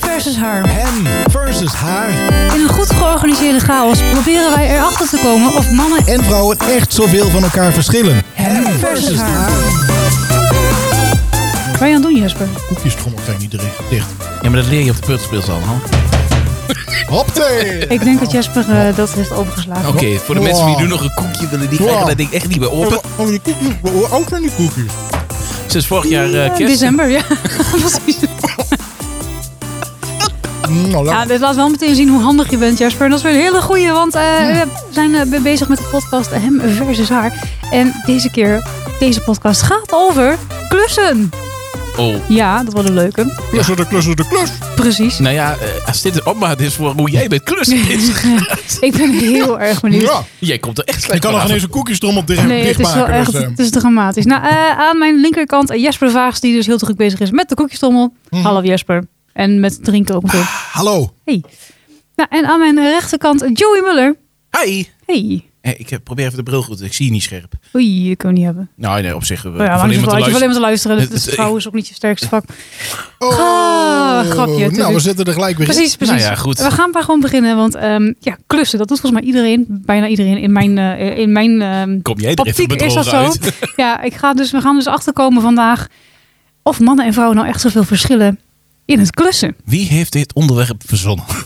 versus haar. Hem versus haar. In een goed georganiseerde chaos proberen wij erachter te komen of mannen En vrouwen echt zoveel van elkaar verschillen. hem versus haar. Wat ben je aan het doen, Jesper? Koekjestrommel zijn niet direct dicht. Ja, maar dat leer je op de peuterspeels allemaal. Hopte! Ik denk dat Jesper eh, dat heeft overgeslagen. Oké, voor de Wow. mensen die nu nog een koekje willen, die Wow. krijgen dat ding echt niet meer open. Oh, die koekjes. Hoe oud zijn die koekjes? Sinds vorig jaar eh, Ja, kerst. december, ja. Precies. Nou, Ja, laat- dit laat wel meteen zien hoe handig je bent, Jasper. En dat is weer een hele goeie, want eh, we zijn eh, bezig met de podcast Hem versus Haar. En deze keer, deze podcast gaat over klussen. Oh. Ja, dat wordt een leuke. Klussen de klussen de klus. Precies. Nou ja, eh, als dit een opmaat is voor hoe jij met klussen bezig Ik ben heel erg benieuwd. Ja. Jij komt er echt Ik slecht kan nog vanaf. ineens een koekjestrommel direct Nee, het dicht is wel maken. echt dus, eh, het is dramatisch. Nou, eh, aan mijn linkerkant eh, Jesper Vaags, die dus heel druk bezig is met de koekjestrommel. Mhm. Hallo Jesper. En met drinken ook meteen. Hallo. Hey. Nou, en aan mijn rechterkant eh, Joey Muller. Hi! Hey. Eh, ik eh, probeer even de bril goed. Ik zie je niet scherp. Oei, dat kunnen we niet hebben. Nou, nee, op zich. eh, Maar ja, van maar ik iemand wil te alleen maar te luisteren. Dus Het- het- vrouw is ook niet je sterkste vak. Oh, Ah, grapje, Nou, we natuurlijk. zitten er gelijk weer in. Precies, precies. Nou ja, goed. We gaan maar gewoon beginnen. Want ehm, ja, klussen, dat doet volgens mij iedereen. Bijna iedereen in mijn, eh, in mijn ehm, Kom jij er even optiek. Is dat bedrogen zo? uit? Ja, ik ga dus, we gaan dus achterkomen vandaag of mannen en vrouwen nou echt zoveel verschillen in het klussen. Wie heeft dit onderwerp verzonnen?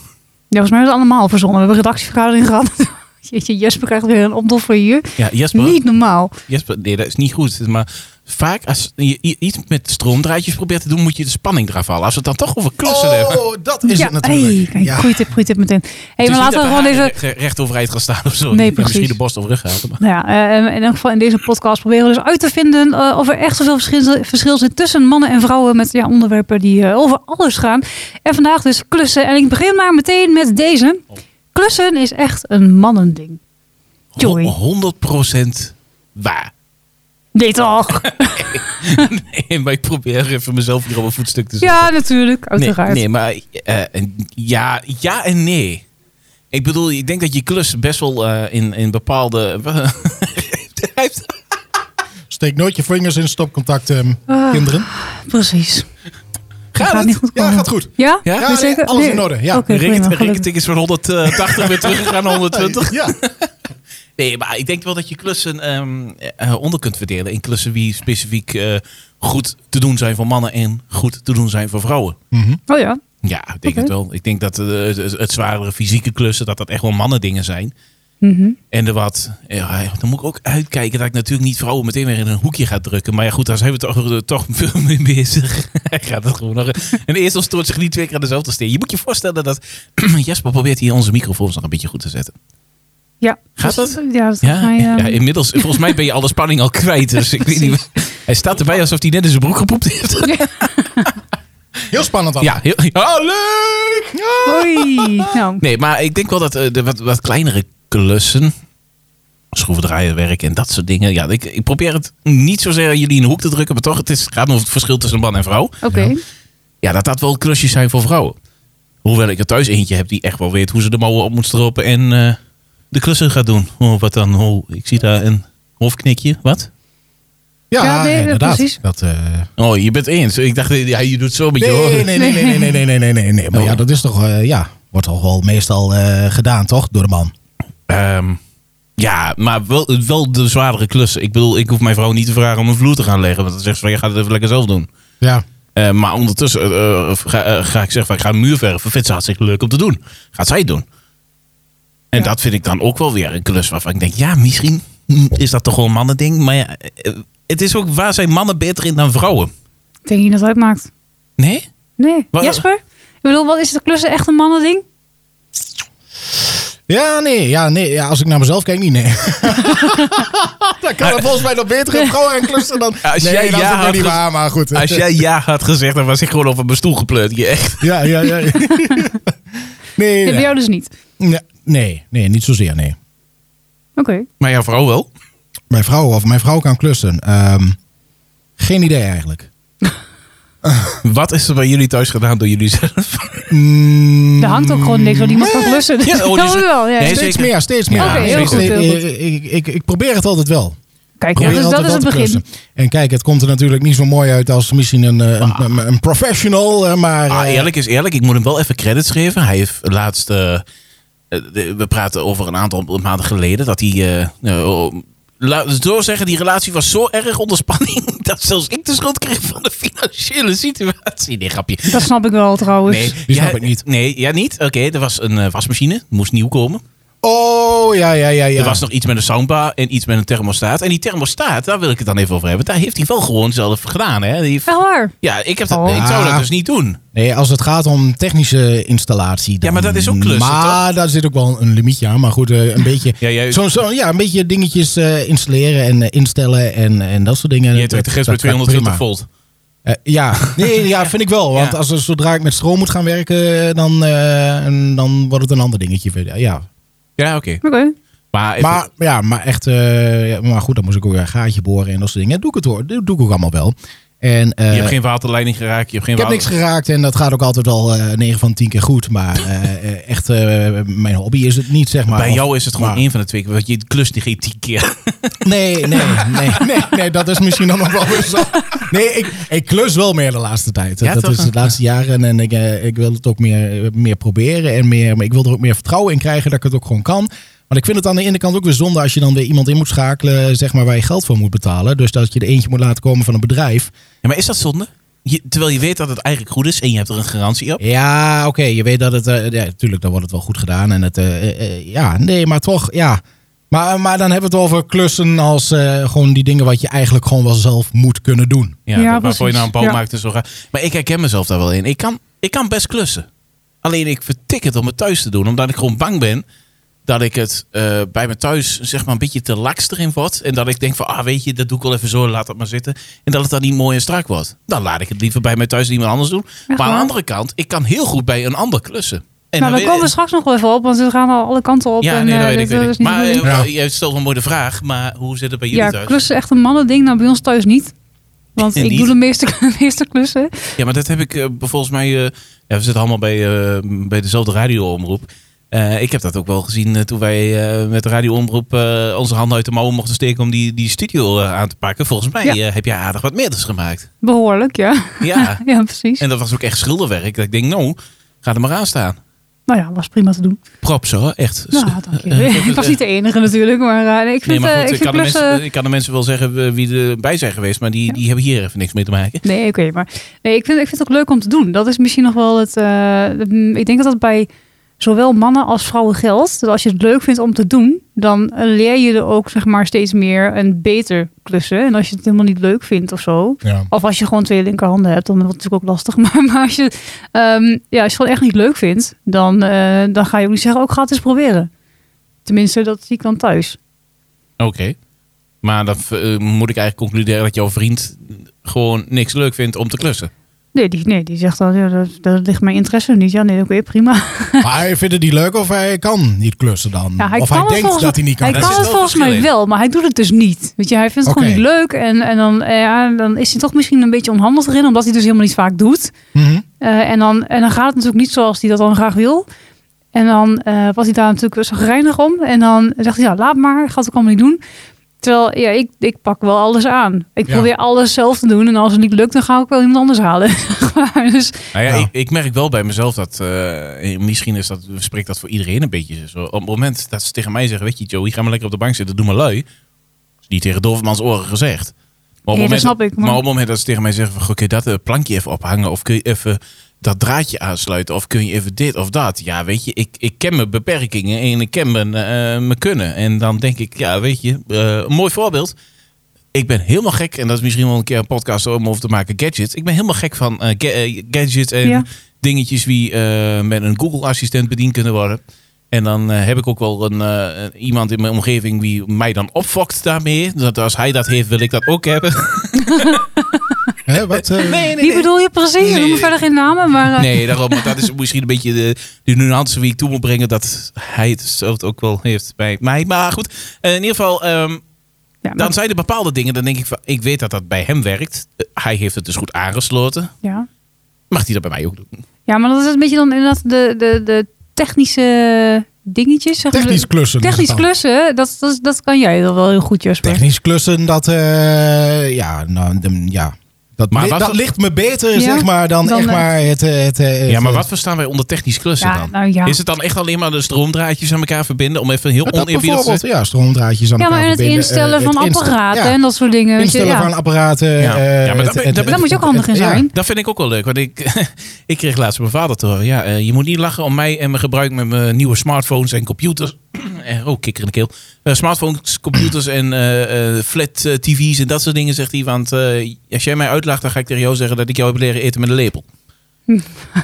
Ja, volgens mij hebben we het allemaal verzonnen. We hebben redactievergadering gehad. Jeetje, Jesper krijgt weer een opdoffer hier. Ja, Jesper. Niet normaal. Jesper, nee, dat is niet goed. Maar vaak als je i- iets met stroomdraadjes probeert te doen, moet je de spanning eraf halen. Als we het dan toch over klussen hebben. Het Oh, dat is ja, het natuurlijk. hey, kijk, Ja. goeie tip, goeie tip meteen. Hey, is maar niet laten we dat gewoon de even... haren re- recht overeind gaan staan of zo. Nee, Ja, misschien precies. de borst of rug gaat. Maar... Nou ja, eh, in elk geval in deze podcast proberen we dus uit te vinden eh, of er echt zoveel verschil, verschil zit tussen mannen en vrouwen met ja, onderwerpen die eh, over alles gaan. En vandaag dus klussen. En ik begin maar meteen met deze. Klussen is echt een mannending. Joey. Ho- 100% waar. Nee toch? Nee, maar ik probeer even mezelf hier op een voetstuk te zetten. Ja, natuurlijk, nee, uiteraard. nee, maar eh, en- ja, ja en nee. Ik bedoel, ik denk dat je klus best wel eh, in, in bepaalde... Hij heeft- Steek nooit je vingers in stopcontact, ehm, Ah. kinderen. Precies. Gaat gaat het? niet goed Ja, komen. gaat goed. Ja? Ja, Ja? Ben je nee, zeker? alles Nee. in orde, ja. Oké, prima, Rekent- gelukkig. Rekent is van 180 weer teruggegaan naar 120. Ja. Nee, maar ik denk wel dat je klussen ehm, eh, onder kunt verdelen. In klussen die specifiek eh, goed te doen zijn voor mannen en goed te doen zijn voor vrouwen. Oh ja. Ja, ik denk Oké. het wel. Ik denk dat eh, het, het, het zwaardere fysieke klussen, dat dat echt wel mannen dingen zijn. Mhm. En de wat, ja, dan moet ik ook uitkijken dat ik natuurlijk niet vrouwen meteen weer in een hoekje ga drukken. Maar ja goed, daar zijn we toch, eh, toch veel mee bezig. Hij gaat het gewoon nog. En eerst stoort zich niet twee keer aan dezelfde steen. Je moet je voorstellen dat Jasper probeert hier onze microfoons nog een beetje goed te zetten. Ja. Gaat Dus- dat? Ja, dat gaat Ja, mij... Ah, ja, ehm, inmiddels, volgens mij ben je alle spanning al kwijt. Dus ik weet niet. Hij staat erbij alsof hij net in zijn broek gepoept heeft. Heel spannend dan. Ja, heel, ja, leuk! Ja. Oei. Nou, Nee, maar ik denk wel dat eh, de wat, wat kleinere klussen, schroevendraaierwerk en dat soort dingen. Ja, ik, ik probeer het niet zozeer jullie in de hoek te drukken, maar toch, het is, gaat over het verschil tussen man en vrouw. oké. Ja, dat dat wel klusjes zijn voor vrouwen. Hoewel ik er thuis eentje heb die echt wel weet hoe ze de mouwen op moet stropen en eh, de klussen gaat doen. Oh, wat dan? Oh, ik zie daar een hoofdknikje. Wat? Ja, Ja, nee, inderdaad. precies. Dat, eh, Oh, je bent eens. Ik dacht, ja, je doet zo met je oren. nee, nee, nee, nee, nee, nee, nee, nee, nee, nee, nee. Maar Oh. ja, dat is toch, eh, ja, wordt toch wel meestal eh, gedaan, toch? Door de man. Ehm, ja, maar wel, wel de zwaardere klussen. Ik bedoel, ik hoef mijn vrouw niet te vragen om een vloer te gaan leggen. Want dan zegt ze van, je gaat het even lekker zelf doen. Ja. Eh, maar ondertussen eh, eh, ga, eh, ga ik zeggen van, ik ga een muur verven. Vindt ze hartstikke leuk om te doen. Gaat zij het doen. En dat vind ik dan ook wel weer een klus waarvan ik denk... Ja, misschien mm, is dat toch wel een mannending. Maar ja, eh, het is ook waar zijn mannen beter in dan vrouwen. Ik denk niet dat het uitmaakt. Nee? Nee. Wat- Jasper? Ik bedoel, wat is de klussen echt een mannending? Ja, nee, ja, nee. Ja, als ik naar mezelf kijk, niet, nee. dan kan er volgens mij nog betere vrouwen en klussen dan... Als nee, jij dat ja is ook weer had niet gez- waar, maar goed. Als jij ja had gezegd, dan was ik gewoon op mijn stoel gepleurd. Je echt. Ja, ja, ja. ja. nee, Ja, bij nee. jou dus niet. Nee, nee, nee, niet zozeer, nee. Oké. Maar jouw vrouw wel. Mijn vrouw of mijn vrouw kan klussen. Ehm, geen idee eigenlijk. Wat is er bij jullie thuis gedaan door jullie zelf? Mm, Er hangt ook gewoon niks wat iemand kan klussen. Mm. Ja, oh, die dat is- wel. Ja. nee, steeds zeker. meer, steeds meer. Ja, Oké, heel Steeds goed, meer. heel goed. Ik, ik, ik, ik probeer het altijd wel. Kijk, ja, Probeer dus dat altijd is het wat te begin. klussen. En kijk, het komt er natuurlijk niet zo mooi uit als misschien een, eh, een, een, een professional, eh, maar... Ah, eh, eerlijk is eerlijk, ik moet hem wel even credits geven. Hij heeft laatst, eh, eh, de- we praten over een aantal maanden geleden, dat hij, eh, eh, oh, laat het zo zeggen, die relatie was zo erg onder spanning, dat zelfs ik de schuld kreeg van de financiële situatie. Nee, grapje. Dat snap ik wel trouwens. Nee, die snap ja, ik niet. Nee, ja niet? Oké, er was een eh, wasmachine, moest nieuw komen. Oh, ja, ja, ja, ja. Er was nog iets met een soundbar en iets met een thermostaat. En die thermostaat, daar wil ik het dan even over hebben. Daar heeft hij wel gewoon zelf gedaan. Hè? Die- Echt waar. Ja, ik, heb dat, Oh. ik zou Ah. dat dus niet doen. Nee, als het gaat om technische installatie. Dan, Ja, maar dat is ook klussen, Maar daar zit ook wel een limietje aan. Maar goed, eh, een beetje. Ja, jij- zo, zo, ja, een beetje dingetjes eh, installeren en eh, instellen en, en dat soort dingen. Je trekt de grens bij Dat- dat- 220 prima. volt. Eh, ja. Nee, ja, vind ik wel. Want Ja. als, als- zodra ik met stroom moet gaan werken, eh, dan, eh, en dan wordt het een ander dingetje. verder. Ja. Ja, oké. Oké. Nou, Maar, even- Maar, ja, maar echt. eh, ja, maar goed, dan moest ik ook weer een gaatje boren en dat soort dingen. Ja, doe ik het hoor. Dat doe ik ook allemaal wel. En, eh, je hebt geen waterleiding geraakt. Je hebt geen Ik heb niks water... geraakt en dat gaat ook altijd al eh 9 van 10 keer goed. Maar eh, eh, echt, eh, mijn hobby is het niet, zeg maar. Bij Of- jou is het gewoon maar- één van de twee keer. Want je klust die geen tien keer. Nee, nee, nee, nee, nee, dat is misschien dan nog wel weer zo. Nee, ik, ik klus wel meer de laatste tijd. Ja, dat toch? is de laatste jaren en ik, eh, ik wil het ook meer, eh, meer proberen. En meer, maar ik wil er ook meer vertrouwen in krijgen dat ik het ook gewoon kan. Want ik vind het aan de ene kant ook weer zonde als je dan weer iemand in moet schakelen, zeg maar, waar je geld voor moet betalen. Dus dat je er eentje moet laten komen van een bedrijf. Ja, maar is dat zonde? Je- terwijl je weet dat het eigenlijk goed is en je hebt er een garantie op. Ja, oké, je weet dat het... eh, ja, natuurlijk, dan wordt het wel goed gedaan. En het, eh, eh, eh, ja, nee, maar toch, ja. Maar, maar dan hebben we het over klussen als eh, gewoon die dingen wat je eigenlijk gewoon wel zelf moet kunnen doen. Ja, Ja, dat- waarvoor je precies. nou een bal Ja. maakt en zo gaat. Maar ik herken mezelf daar wel in. Ik kan, ik kan best klussen. Alleen ik vertik het om het thuis te doen. Omdat ik gewoon bang ben dat ik het eh, bij me thuis zeg maar een beetje te laks erin word. En dat ik denk van, ah weet je, dat doe ik wel even zo, laat dat maar zitten. En dat het dan niet mooi en strak wordt. Dan laat ik het liever bij me thuis en iemand anders doen. maar aan de waar? andere kant, ik kan heel goed bij een ander klussen. nou, En dan daar weet- komen we straks nog wel even op, want we gaan al alle kanten op. Ja, en, nee, eh, dat weet ik. dit, Weet eh, ik. is niet Maar de bedoeling. eh, jij stelt wel mooi de vraag, maar hoe zit het bij jullie ja, thuis? klussen is echt een mannending. Nou, bij ons thuis niet. Want En ik niet? doe de meeste, de meeste klussen. Ja, maar dat heb ik eh, volgens mij. eh, ja, we zitten allemaal bij, eh, bij dezelfde radioomroep. Eh, ik heb dat ook wel gezien eh, toen wij eh, met de radioomroep eh, onze handen uit de mouwen mochten steken om die, die studio eh, aan te pakken. Volgens mij Ja. eh, heb jij aardig wat meters gemaakt. Behoorlijk, ja. Ja, Ja, precies. en dat was ook echt schilderwerk. Dat ik denk, nou, ga er maar aan staan. Nou ja, was prima te doen. Props hoor, echt. Nou, dank je. Eh, ik was niet de enige natuurlijk, maar eh, nee, ik Nee, vind, maar eh, goed, ik ik vind kan, de klussen... mensen, ik kan de mensen wel zeggen eh, wie erbij zijn geweest, maar die, die hebben hier even niks mee te maken. Nee, oké, maar nee, ik, vind, ik vind het ook leuk om te doen. Dat is misschien nog wel het. eh, mm, ik denk dat dat bij zowel mannen als vrouwen geldt. Dat als je het leuk vindt om te doen, dan eh, leer je er ook zeg maar, steeds meer en beter klussen. En als je het helemaal niet leuk vindt of zo. Ja. Of als je gewoon twee linkerhanden hebt, dan wordt het natuurlijk ook lastig. Maar, maar als, je, ehm, ja, als je het gewoon echt niet leuk vindt, dan, eh, dan ga je ook niet zeggen, ook ga het eens proberen. Tenminste, dat zie ik dan thuis. Oké. Maar dan eh, moet ik eigenlijk concluderen dat jouw vriend gewoon niks leuk vindt om te klussen. Nee, die, nee, die zegt dan, ja, dat, dat ligt mijn interesse niet. Ja, nee, oké, prima. Maar hij vindt het niet leuk of hij kan niet klussen dan? Ja, het of hij denkt volgens- dat hij niet kan. Hij kan Dat is het wel volgens mij verschil in. wel, maar hij doet het dus niet. Weet je, hij vindt het Oké. gewoon niet leuk. En, en dan, eh, ja, dan is hij toch misschien een beetje onhandig erin, omdat hij het dus helemaal niet vaak doet. Mhm. Eh, en, dan, en dan gaat het natuurlijk niet zoals hij dat dan graag wil. En dan eh, was hij daar natuurlijk zo reinig om. En dan zegt hij, ja, laat maar, gaat ook allemaal niet doen. Terwijl, ja, ik, ik pak wel alles aan. Ik Ja. probeer alles zelf te doen. En als het niet lukt, dan ga ik wel iemand anders halen. Zeg maar. dus, Nou ja, Ja. Ik, ik merk wel bij mezelf dat, eh, misschien is dat, spreekt dat voor iedereen een beetje zo. Op het moment dat ze tegen mij zeggen, weet je Joey, ga maar lekker op de bank zitten, doe maar lui. Dat is niet tegen Dovermans oren gezegd. Maar Nee, dat moment, snap ik, maar- maar op het moment dat ze tegen mij zeggen, van, goh, kun je dat eh, plankje even ophangen? Of kun je even dat draadje aansluiten? Of kun je even dit of dat? Ja, weet je, ik, ik ken mijn beperkingen en ik ken mijn, eh, mijn kunnen. En dan denk ik, ja, weet je, eh, een mooi voorbeeld. Ik ben helemaal gek, en dat is misschien wel een keer een podcast om over te maken, gadgets. Ik ben helemaal gek van eh, ga- eh, gadgets en Ja. dingetjes die eh, met een Google-assistent bediend kunnen worden. En dan eh, heb ik ook wel een, eh, een- iemand in mijn omgeving die mij dan opfokt daarmee. Dat als hij dat heeft, wil ik dat ook hebben. Hè, wat, eh, die bedoel je precies? Nee. Ik noem verder geen namen, maar... eh, Nee, daarom. Maar dat is misschien een beetje de, de nuance die ik toe moet brengen. Dat hij het zelf ook wel heeft bij mij. Maar goed, eh, in ieder geval, ehm, ja, maar- dan zijn er bepaalde dingen. Dan denk ik van, ik weet dat dat bij hem werkt. Eh, hij heeft het dus goed aangesloten. ja. Mag hij dat bij mij ook doen? Ja, maar dat is een beetje dan inderdaad de, de, de technische dingetjes. Zeg maar. Technisch klussen. noemen Technisch ze het klussen, dat, dat, dat kan jij dan wel heel goed, Jasper. dan. Technisch klussen, dat... eh, ja, nou, de- ja. Dat, Maar li- wat- dat ligt me beter, Ja, zeg maar, dan, dan, echt eh, maar het... eh, het, eh, Ja, maar het- wat verstaan wij onder technisch klussen Ja, dan? nou ja. Is het dan echt alleen maar de stroomdraadjes aan elkaar verbinden? Om even heel Dat oneerbiedig te bijvoorbeeld, ja, stroomdraadjes aan Ja, maar elkaar en het verbinden, eh, instellen het van inst- apparaten ja, en dat soort dingen. Weet je, ja. instellen van apparaten. Ja. eh, Ja, maar daar ben- het- het- daar ben- Daar moet je ook handig in het- ja. zijn. Dat vind ik ook wel leuk. Want ik, ik kreeg laatst van mijn vader te horen. Ja, eh, je moet niet lachen om mij en mijn gebruik met mijn nieuwe smartphones en computers. Eh, oh, kikker in de keel. Eh, smartphones, computers en eh, eh, flat eh, tv's en dat soort dingen, zegt hij. Want eh, als jij mij uitlacht, dan ga ik tegen jou zeggen dat ik jou heb leren eten met een lepel.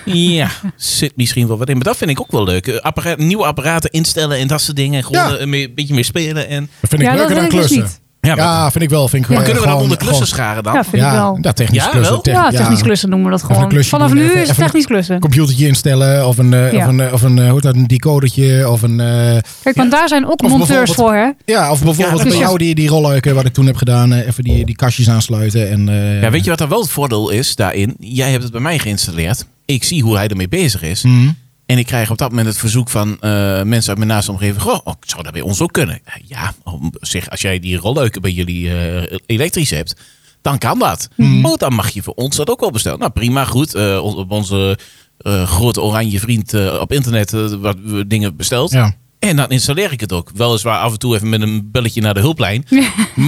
ja, zit misschien wel wat in. Maar dat vind ik ook wel leuk. Eh, appara- nieuwe apparaten instellen en dat soort dingen. Gewoon Ja. eh, een beetje meer spelen. En, Dat vind ik Ja, dat leuker dan vind ik dus klussen. niet. ja, maar, Ja, vind ik wel. Vind ik, Maar eh, kunnen we dat gewoon- onder klussen gewoon- scharen dan? Ja, vind ik wel. Ja, ja, technisch Ja, klussen. wel? tech- ja, technisch klussen noemen we dat een gewoon. klusje Vanaf doen, nu even- is het even- technisch klussen. computertje instellen of een, eh, Ja. of een, eh, of een eh, hoe heet dat, een decodertje of een... eh, Kijk, want daar zijn ook Of monteurs bijvoorbeeld- voor, hè? ja, of bijvoorbeeld dat bij is- jou die, die rolluiken wat ik toen heb gedaan. eh, even die, die kastjes aansluiten. En, eh, Ja, weet je wat dan wel het voordeel is daarin? Jij hebt het bij mij geïnstalleerd. Ik zie hoe hij ermee bezig is. Mhm. En ik krijg op dat moment het verzoek van eh, mensen uit mijn naaste omgeving. Goh, oh, zou dat bij ons ook kunnen? Eh, Ja, om- zeg, als jij die rolleuken bij jullie eh, elektrisch hebt, dan kan dat. Oh, dan mag je voor ons dat ook wel bestellen. Nou, prima, goed. Eh, on- op onze eh, grote oranje vriend eh, op internet eh, wat we dingen besteld. Ja. En dan installeer ik het ook. Weliswaar af en toe even met een belletje naar de hulplijn. maar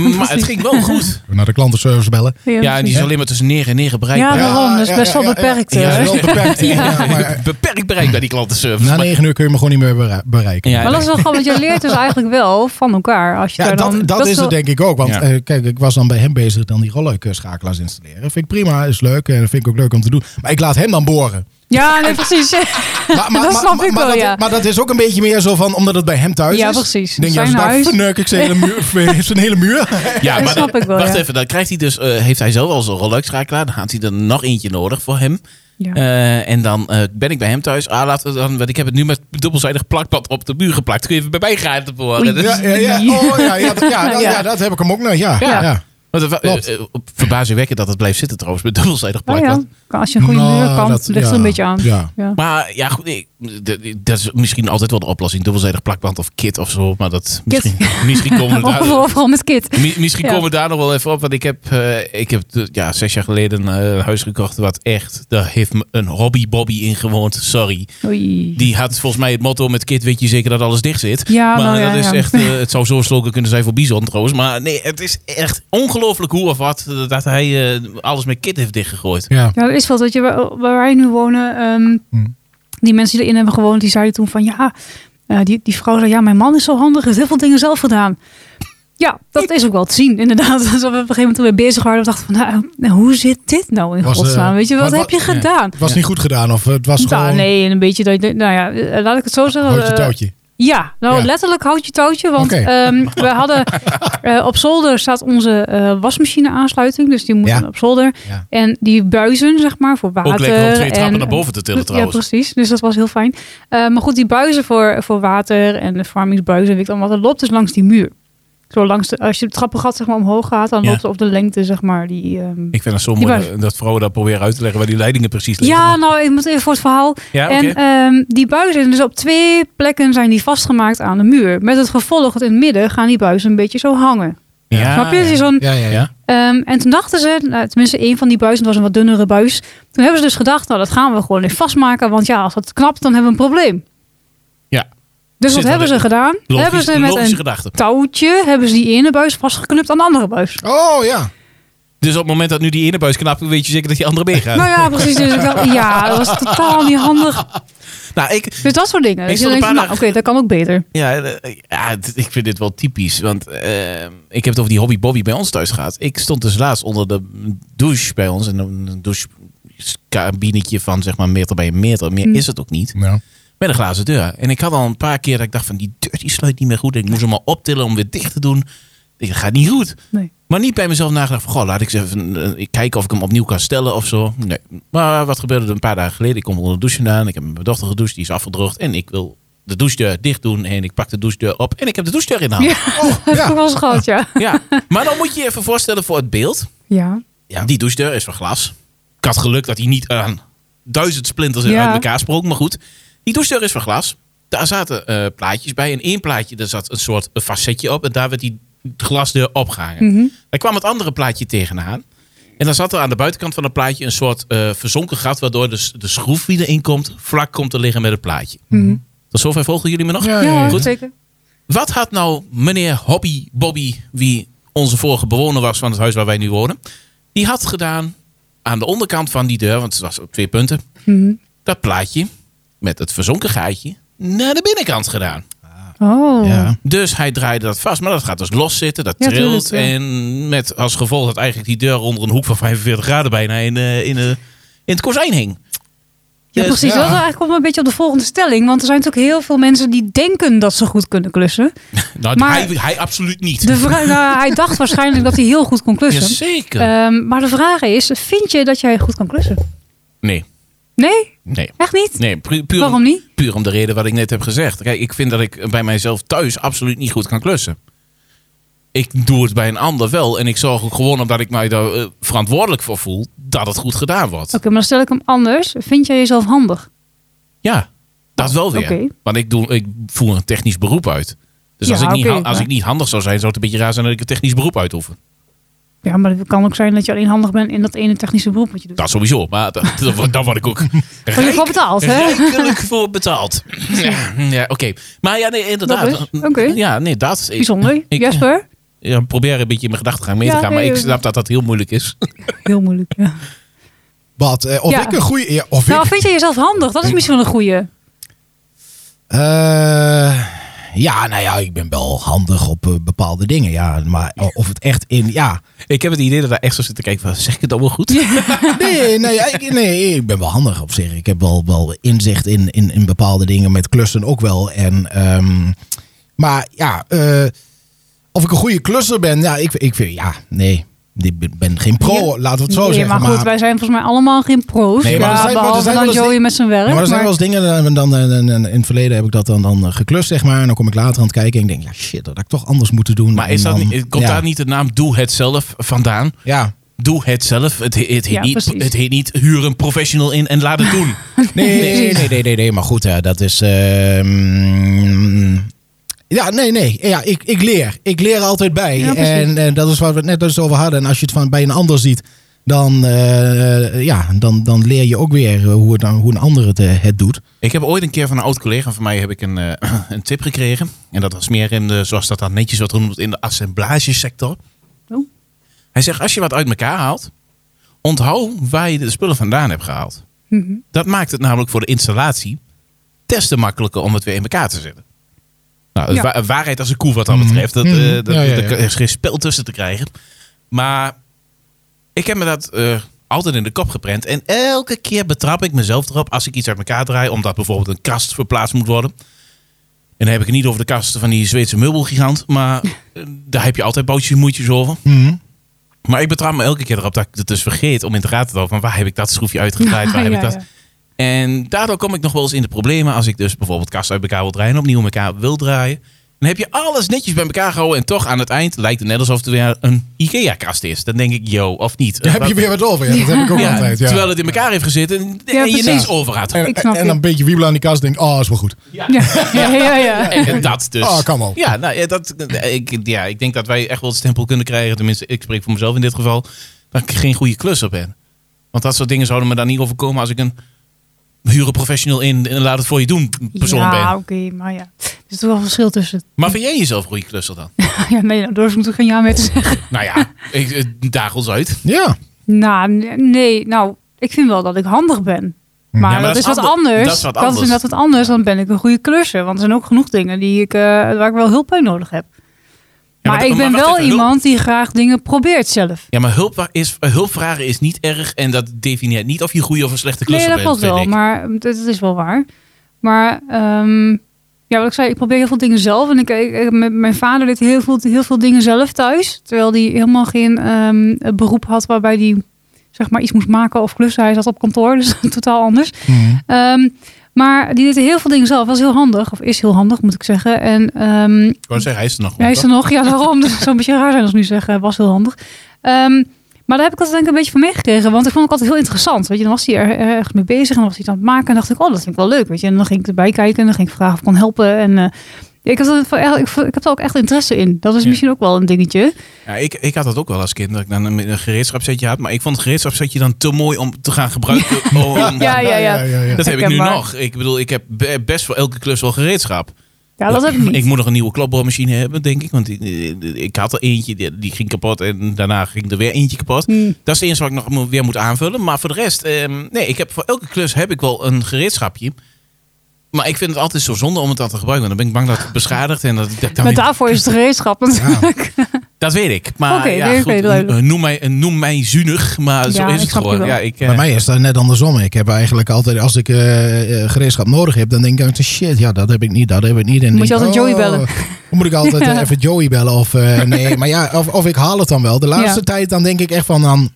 het precies. ging wel goed. Naar de klantenservice bellen. Ja, en die is alleen maar tussen neer en neer Ja, bereikbaar. daarom. Dat is ja, best ja, wel ja, beperkt. ja, hè? ja, dat is wel beperkt. ja. maar Maar, beperkt bereikbaar, die klantenservice. na Maar- negen uur kun je me gewoon niet meer bera- bereiken. Ja, Maar dat is wel grappig, want je leert dus eigenlijk wel van elkaar. Als je Ja, daar dan, dat, dat is wel- het denk ik ook. Want Ja. eh, kijk, ik was dan bij hem bezig dan die rolluikschakelaars installeren. Vind ik prima, is leuk. En vind ik ook leuk om te doen. Maar ik Eh, laat hem dan boren. Ja, nee, precies. Maar, maar, Dat maar- snap maar- ik maar wel, dat, ja. Maar dat is ook een beetje meer zo van, omdat het bij hem thuis Ja, is. precies. Denk Zijn je, als ik daar huis. verneuk ik zijn hele muur. heeft zijn hele muur. Ja, Dat maar snap dan- ik wel, wacht ja. even, dan krijgt hij dus, eh, heeft hij zelf al zo'n rolluikschakelaar. Dan had hij er nog eentje nodig voor hem. Ja. Eh, en dan eh, ben ik bij hem thuis. Ah, laten we dan, want ik heb het nu met dubbelzijdig plakband op de muur geplakt. Kun je even bij mij gaan te Oei. boren. Dat is- Ja, ja, ja. Oh, ja, ja, dat, ja, dat, ja, dat heb ik hem ook nog. Ja, ja. Ja. ja. Want het wa- Klopt. eh, eh, op- verbazingwekkend dat het blijft zitten trouwens met dubbelzijdig Nou plakband. ja, als je een goede Nou, muur kan, dat- ligt ja. er een beetje aan. Ja. Ja. Maar ja, goed, ik- d- dat is misschien altijd wel de oplossing. Dubbelzijdig plakband of kit of zo. Maar dat Kit. Oh, misschien, misschien komen we Overal, daar, overal met kit. Mi- Misschien Ja. komen we daar nog wel even op. Want ik heb, eh, ik heb eh, ja, zes jaar geleden eh, een huis gekocht. Wat echt, daar heeft me een hobby-bobby in gewoond. Sorry. Oei. Die had volgens mij het motto met Kit weet je zeker dat alles dicht zit. Ja, maar nou ja, dat is ja. echt, eh, het zou zo'n slogan kunnen zijn voor Bison trouwens. Maar nee, het is echt ongelooflijk hoe of wat eh, dat hij eh, alles met Kit heeft dichtgegooid. ja. Ja, er is wel dat je waar, waar wij nu wonen, ehm, Hmm. die mensen die erin hebben gewoond, die zeiden toen van ja, eh, die, die vrouw zei ja, mijn man is zo handig, heeft heel veel dingen zelf gedaan. Ja, dat is ook wel te zien, inderdaad. Dus we op een gegeven moment toen we bezig waren, we dachten van nou, nou, hoe zit dit nou in Was, eh, godsnaam? Weet je, wat, wat- heb je ja. gedaan? Het was niet goed gedaan of het was Nou, gewoon nee, en een beetje dat je denkt, nou ja, eh, laat ik het zo zeggen. houtje eh, touwtje. ja, nou Ja. letterlijk houd je touwtje. Want Oké. ehm, we hadden eh, op zolder staat onze eh, wasmachine aansluiting. Dus die moet Ja. dan op zolder. Ja. En die buizen, zeg maar, voor water. Ook lekker om twee trappen eh, en- naar boven te tillen Ja, trouwens. precies. Dus dat was heel fijn. Eh, maar goed, die buizen voor, voor water en de farmingsbuizen en weet ik dan wat. Dat loopt dus langs die muur. Zo langs de, als je het trappengat zeg maar, omhoog gaat, dan Ja. loopt ze op de lengte, zeg maar, die... ehm, ik vind het zo Die mooi was- dat, dat vrouwen dat proberen uit te leggen waar die leidingen precies liggen. Ja, Maar- nou, ik moet even voor het verhaal. Ja, oké. En ehm, die buizen, dus op twee plekken zijn die vastgemaakt aan de muur. Met het gevolg dat in het midden gaan die buizen een beetje zo hangen. Ja, Snap je? Het Ah, ja. is zo'n- Ja, ja, ja. ehm, en toen dachten ze, nou, tenminste één van die buizen, het was een wat dunnere buis. Toen hebben ze dus gedacht, nou dat gaan we gewoon in vastmaken. Want ja, als dat knapt, dan hebben we een probleem. Ja. Dus Zit wat hebben er- ze gedaan? hebben Logisch, ze met logische een gedachte. touwtje, hebben ze die ene buis vastgeknipt aan de andere buis. Oh ja. Dus op het moment dat nu die ene buis knapt, weet je zeker dat die andere meegaat. Nou ja, precies. Dus ik dacht, ja, dat was totaal niet handig. nou, ik, Dus dat soort dingen. Dus je stond een denkt, paar nou, oké, dagen- dat kan ook beter. Ja, eh, ja d- ik vind dit wel typisch. Want eh, ik heb het over die hobby Bobby bij ons thuis gehad. Ik stond dus laatst onder de douche bij ons. En een douchekabinetje van zeg maar meter bij een meter. Meer Mm. is het ook niet. Nou, Met een glazen deur. En ik had al een paar keer dat ik dacht van die deur die sluit niet meer goed. En ik moest hem al optillen om weer dicht te doen. Ik dacht, Dat gaat niet goed. Nee. Maar niet bij mezelf nagedacht van, goh, laat ik eens even eh, kijken of ik hem opnieuw kan stellen of zo. Nee. Maar wat gebeurde er een paar dagen geleden? Ik kom onder de douche vandaan. Ik heb met mijn dochter gedoucht, die is afgedroogd. En ik wil de douchedeur dicht doen. En ik pak de douchedeur op en ik heb de douchedeur in de hand. Ja. Ja, Oh, dat heb ik wel eens gehad, ja. Maar dan moet je je even voorstellen voor het beeld. Ja, Ja. Die douchedeur is van glas. Ik had geluk dat hij niet aan duizend splinters Ja. uit elkaar sprong. Maar goed, die douchedeur is van glas. Daar zaten eh, plaatjes bij. En één plaatje, daar zat een soort facetje op. En daar werd die glasdeur opgehangen. Daar kwam het andere plaatje tegenaan. En dan zat er aan de buitenkant van het plaatje een soort eh, verzonken gat. Waardoor de, s- de schroef die erin komt, vlak komt te liggen met het plaatje. Tot zover volgen jullie me nog? Ja, Ja, Goed. zeker. Wat had nou meneer Hobby Bobby, wie onze vorige bewoner was van het huis waar wij nu wonen, die had gedaan aan de onderkant van die deur, want het was op twee punten, Mhm. dat plaatje met het verzonken gaatje naar de binnenkant gedaan. Oh. Ja. Dus hij draaide dat vast, maar dat gaat dus los zitten, dat Ja, tuurlijk, trilt. ja. En met als gevolg dat eigenlijk die deur onder een hoek van 45 graden bijna in, eh, in, eh, in het kozijn hing. Ja, Dus- precies. ja. Dat is eigenlijk wel een beetje op de volgende stelling. Want er zijn natuurlijk heel veel mensen die denken dat ze goed kunnen klussen. Nou, Maar- hij, hij absoluut niet. De vra- nou, hij dacht waarschijnlijk dat hij heel goed kon klussen. Jazeker. Ehm, maar de vraag is, vind je dat jij goed kan klussen? nee, Nee? nee. Echt niet? Nee, pu- puur, Waarom niet? Puur om de reden wat ik net heb gezegd. Kijk, ik vind dat ik bij mijzelf thuis absoluut niet goed kan klussen. Ik doe het bij een ander wel. En ik zorg ook gewoon omdat ik mij daar eh, verantwoordelijk voor voel, dat het goed gedaan wordt. Oké, maar dan stel ik hem anders. Vind jij jezelf handig? Ja, dat wel weer. Oké. Want ik, doe, ik voer een technisch beroep uit. Dus Ja, als, ik niet, oké, ha- als maar- ik niet handig zou zijn, zou het een beetje raar zijn dat ik een technisch beroep uitoefen. Ja, maar het kan ook zijn dat je alleen handig bent in dat ene technische beroep wat je doet. Dat sowieso. Maar da- da- da- daar word ik ook Word je rijk, voor betaald, hè? rijkelijk voor betaald. Ja, ja oké. Maar ja, nee, Dat inderdaad. is- oké. Ja, nee, dat is... Bijzonder. Ik- Jasper? ja, probeer een beetje in mijn gedachtegang mee te Ja, gaan. nee, maar ik eh, snap dat dat heel moeilijk is. Heel moeilijk, ja. Wat, eh, of Ja. ik een goede... Ja, of Nou, ik... vind jij jezelf handig? Dat is misschien wel een goeie. Eh, ja, nou ja, ik ben wel handig op eh, bepaalde dingen. Ja, maar eh, of het echt in... Ja, Ik heb het idee dat daar echt zo zit te kijken van, zeg ik het allemaal goed? nee, nee, ik, nee, ik ben wel handig op zich. Ik heb wel, wel inzicht in, in, in bepaalde dingen met klussen ook wel. En, ehm, maar ja, eh, of ik een goede klusser ben, ja, ik, ik vind, ja, nee, ik ben- ben geen pro, Ja. laten we het zo nee, zeggen. maar goed, wij zijn volgens mij allemaal geen pro's. Nee, maar er Ja, zijn- maar er behalve zijn wel dan eens Joey die- met zijn werk. Ja, maar er zijn maar- wel eens dingen, eh, dan, dan, dan- in het verleden heb ik dat dan, dan eh, geklust, zeg maar. En dan kom ik later aan het kijken en ik denk, ja shit, dat had ik toch anders moeten doen. Maar En is dat dan- niet, komt ja, daar niet de naam Doe Het Zelf vandaan? Ja, Doe het zelf. Het, he- het, heet Ja, niet, precies. het heet niet huur een professional in en laat het doen. nee, nee, nee, nee, nee, nee, maar goed, hè, dat is... ehm, ja, nee, nee. Ja, ik, ik leer. Ik leer altijd bij. Ja, precies. en eh, dat is wat we het net dus over hadden. En als je het van bij een ander ziet, dan, eh, ja, dan, dan leer je ook weer eh, hoe, het, dan- hoe een ander het, eh, het doet. ik heb ooit een keer van een oud collega van mij heb ik een, eh, een tip gekregen. En dat was meer in de, zoals dat dan netjes wordt genoemd, in de assemblagesector. Oh. Hij zegt, als je wat uit elkaar haalt, onthoud waar je de spullen vandaan hebt gehaald. Mhm. Dat maakt het namelijk voor de installatie testen makkelijker om het weer in elkaar te zetten. Nou, Ja. wa- een waarheid als een koe wat dat betreft. Dat, eh, Mhm. dat, Ja, ja, ja. Er is geen spel tussen te krijgen. Maar ik heb me dat eh, altijd in de kop geprent. En elke keer betrap ik mezelf erop als ik iets uit elkaar draai. Omdat bijvoorbeeld een kast verplaatst moet worden. En dan heb ik het niet over de kasten van die Zweedse meubelgigant. Maar eh, daar heb je altijd boutjes en moeitjes over. Mhm. Maar ik betrap me elke keer erop dat ik het dus vergeet om in de gaten te houden. Van waar heb ik dat schroefje uitgedraaid? Waar heb ik Ja, dat... ja. En daardoor kom ik nog wel eens in de problemen als ik dus bijvoorbeeld kasten uit elkaar wil draaien, en opnieuw elkaar wil draaien. Dan heb je alles netjes bij elkaar gehouden en toch aan het eind lijkt het net alsof het weer een IKEA-kast is. Dan denk ik, yo, of niet. Daar heb je weer wat over. Ja, dat heb ik ook Ja, altijd. Ja. Terwijl het in elkaar heeft gezeten en, en je precies. niks over had. en, Ik snap en je. dan een beetje wiebelen aan die kast denk oh, is wel goed. Ja, ja, ja. ja. En dat dus. Ah, kan wel. Ja, nou, ja, dat, ik, ja, ik denk dat wij echt wel het stempel kunnen krijgen. Tenminste, ik spreek voor mezelf in dit geval. Dat ik geen goede klus op ben. Want dat soort dingen zouden me dan niet overkomen als ik een huren professional in en laat het voor je doen persoon ben. Ja, oké, maar ja. Er is toch wel verschil tussen. Maar vind jij jezelf een goede klusser dan? Ja, nee, nou, durf ik natuurlijk geen ja mee te zeggen. nou ja, ik, eh, daag ons uit. Ja. Nou, nee, nee, nou, ik vind wel dat ik handig ben. Maar, maar dat, dat is is wat ander- anders. dat is wat Dat is anders. inderdaad wat anders. Dan ben ik een goede klusser. Want er zijn ook genoeg dingen die ik, eh, waar ik wel hulp bij nodig heb. maar maar, dat- ik ben maar wacht wel even, hulp- iemand die graag dingen probeert zelf. Ja, maar hulp is, eh, hulp vragen is niet erg en dat definieert niet of je een goede of een slechte Nee, dat klusser bent. klopt wel. vind ik. Maar mm, dat, dat is wel waar. Maar ehm, ja, wat ik zei, ik probeer heel veel dingen zelf. En ik, ik- ik- met mijn vader deed heel veel, heel veel dingen zelf thuis. Terwijl hij helemaal geen ehm, eh, beroep had waarbij hij zeg maar, iets moest maken of klussen. Hij zat op kantoor, dus totaal anders. Hmm. Ehm, maar die deed heel veel dingen zelf. Was heel handig, of is heel handig, moet ik zeggen. En ehm, Ik wou zeggen, hij is er nog. ja, hij is er nog. Ja, daarom. Dat zou een beetje raar zijn als we nu zeggen. Was heel handig. Ehm, Maar daar heb ik altijd denk ik een beetje van meegekregen. Want ik vond het altijd heel interessant. Weet je, dan was hij er ergens mee bezig en dan was hij het aan het maken. En dacht ik, oh, dat vind ik wel leuk. Weet je, en dan ging ik erbij kijken en dan ging ik vragen of ik kon helpen. En eh, ik, had, altijd van- echt- ik, vond- ik had er ook echt interesse in. Dat is Ja. misschien ook wel een dingetje. Ja, ik, ik had dat ook wel als kind, dat ik dan een, een gereedschapsetje had. Maar ik vond het gereedschapsetje dan te mooi om te gaan gebruiken. Oh, om- Ja, ja, ja. Dat heb ik nu Herkenbaar. nog. Ik bedoel, ik heb be- best voor elke klus wel gereedschap. Ja, dat heb ik Ik niet. moet nog een nieuwe klapboormachine hebben, denk ik. Want ik, ik had er eentje, die, die ging kapot. En daarna ging er weer eentje kapot. Hmm. Dat is het enige wat ik nog moet- weer moet aanvullen. Maar voor de rest, ehm, nee, ik heb, voor elke klus heb ik wel een gereedschapje. Maar ik vind het altijd zo zonde om het dan te gebruiken. Want dan ben ik bang dat het beschadigt. En dat, ik dat, kan Maar niet- daarvoor is het gereedschap natuurlijk. dat weet ik. Maar Oké, ja, nee, goed, oké, duidelijk. noem, mij, noem mij zuinig, maar zo Ja, is ik het snap je gewoon. wel. Ja, ik, eh, Bij mij is dat net andersom. Ik heb eigenlijk altijd, als ik eh, eh, gereedschap nodig heb, dan denk ik altijd, shit, ja, dat heb ik niet, dat heb ik niet. En Moet denk je ik, oh, altijd Joey bellen. Dan moet ik altijd eh, Ja. even Joey bellen of eh, nee, maar ja, of, of ik haal het dan wel. De laatste Ja. tijd dan denk ik echt van, dan,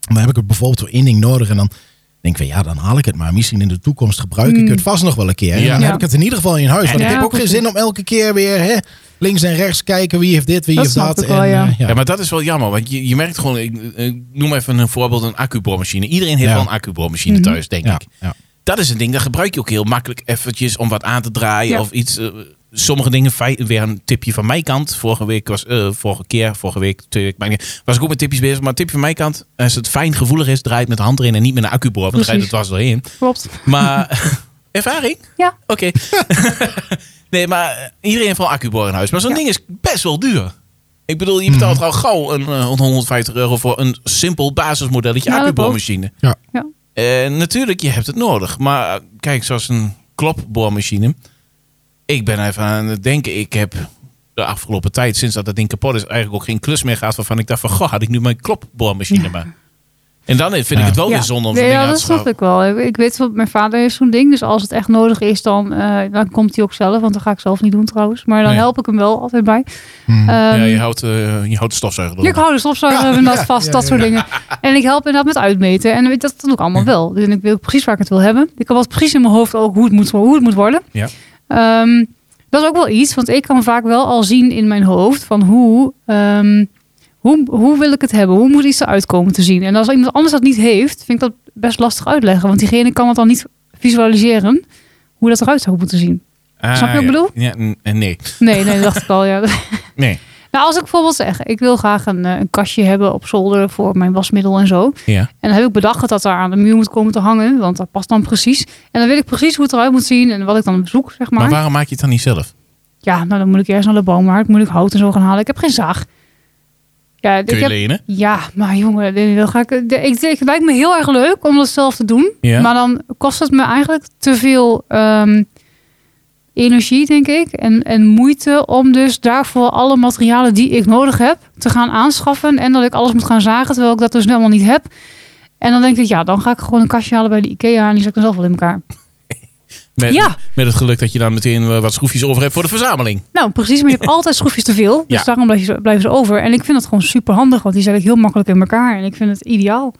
dan heb ik het bijvoorbeeld voor één ding nodig en dan denk ik van, ja, dan haal ik het maar. Misschien in de toekomst gebruik ik Mm. het vast nog wel een keer. En Ja. dan Ja. heb ik het in ieder geval in huis. Want Ja, ik heb ook geen precies. zin om elke keer weer hè, links en rechts kijken wie heeft dit, wie Dat heeft snap dat. ik wel, en, ja. eh, Ja, maar dat is wel jammer. Want je, je merkt gewoon, ik, ik noem even een voorbeeld, een accuboormachine. Iedereen heeft Ja. wel een accuboormachine Mhm. thuis, denk ja, ik. ja. Dat is een ding, dat gebruik je ook heel makkelijk eventjes om wat aan te draaien Ja. of iets. eh, sommige dingen, fei- weer een tipje van mijn kant. Vorige week was, eh, vorige keer, vorige week, twee weken, maakt niet uit, was ik ook met tipjes bezig. Maar een tipje van mijn kant, als het fijn gevoelig is, draait met de hand erin en niet met een accuboor. Want dan rijdt het Precies. was doorheen. Klopt. Maar ervaring? Ja. Oké. nee, maar eh, iedereen heeft wel een accuboor in huis. Maar zo'n Ja. Mhm. ding is best wel duur. Ik bedoel, je betaalt al gauw een eh, 150 euro voor een simpel basismodelletje Ja, dat accuboormachine. Ja. Ja. Eh, natuurlijk, je hebt het nodig. Maar eh, kijk, zoals een klopboormachine. Ik ben even aan het denken. Ik heb de afgelopen tijd, sinds dat dat ding kapot is, eigenlijk ook geen klus meer gehad. Waarvan ik dacht van, goh, had ik nu mijn klopboormachine maar. En dan vind ik Ja. het wel ja. weer zonde om zo'n Nee, ding ja, aan te dat snap schaffen. ik wel. Ik, ik weet wel, mijn vader heeft zo'n ding. Dus als het echt nodig is, dan, eh, dan komt hij ook zelf. Want dat ga ik zelf niet doen trouwens. Maar dan Nee. help ik hem wel altijd bij. Hmm. Ehm, Ja, je houdt, eh, je houdt de stofzuiger Ik hou de stofzuiger en dat vast, ja, dat ja, Mm. soort dingen. En ik help inderdaad met uitmeten. En weet- dat doe ik allemaal wel. Dus En ik weet ook precies waar ik het wil hebben. Ik heb wel precies in mijn hoofd ook hoe het moet, hoe het moet worden. Ja. Ehm, dat is ook wel iets, want ik kan vaak wel al zien in mijn hoofd van hoe, ehm, hoe, hoe wil ik het hebben? Hoe moet iets eruit komen te zien? En als iemand anders dat niet heeft, vind ik dat best lastig uitleggen. Want diegene kan het dan niet visualiseren hoe dat eruit zou moeten zien. Ah, Snap je wat ik ja. bedoel? Ja, n- en nee. Nee, nee, dat dacht ik al. Ja. Nee. Nou, als ik bijvoorbeeld zeg, ik wil graag een, eh, een kastje hebben op zolder voor mijn wasmiddel en zo. Ja. En dan heb ik bedacht dat dat daar aan de muur moet komen te hangen, want dat past dan precies. En dan weet ik precies hoe het eruit moet zien en wat ik dan zoek, zeg maar. Maar waarom maak je het dan niet zelf? Ja, nou dan moet ik eerst naar de boommarkt, moet ik hout en zo gaan halen. Ik heb geen zaag. Ja, ik Kun je heb... lenen? Ja, maar jongen, dit- dan ga ik, ik, ik, het lijkt me heel erg leuk om dat zelf te doen. Ja. Maar dan kost het me eigenlijk te veel ehm, energie, denk ik. En, en moeite om dus daarvoor alle materialen die ik nodig heb te gaan aanschaffen. En dat ik alles moet gaan zagen, terwijl ik dat dus helemaal niet heb. En dan denk ik, ja, dan ga ik gewoon een kastje halen bij de Ikea en die zet ik dan zelf wel in elkaar. Met, Ja. met het geluk dat je dan meteen eh, wat schroefjes over hebt voor de verzameling. Nou, precies, maar je hebt altijd schroefjes te veel. Dus Ja. daarom blijven ze, blijven ze over. En ik vind dat gewoon super handig, want die zet ik heel makkelijk in elkaar. En ik vind het ideaal.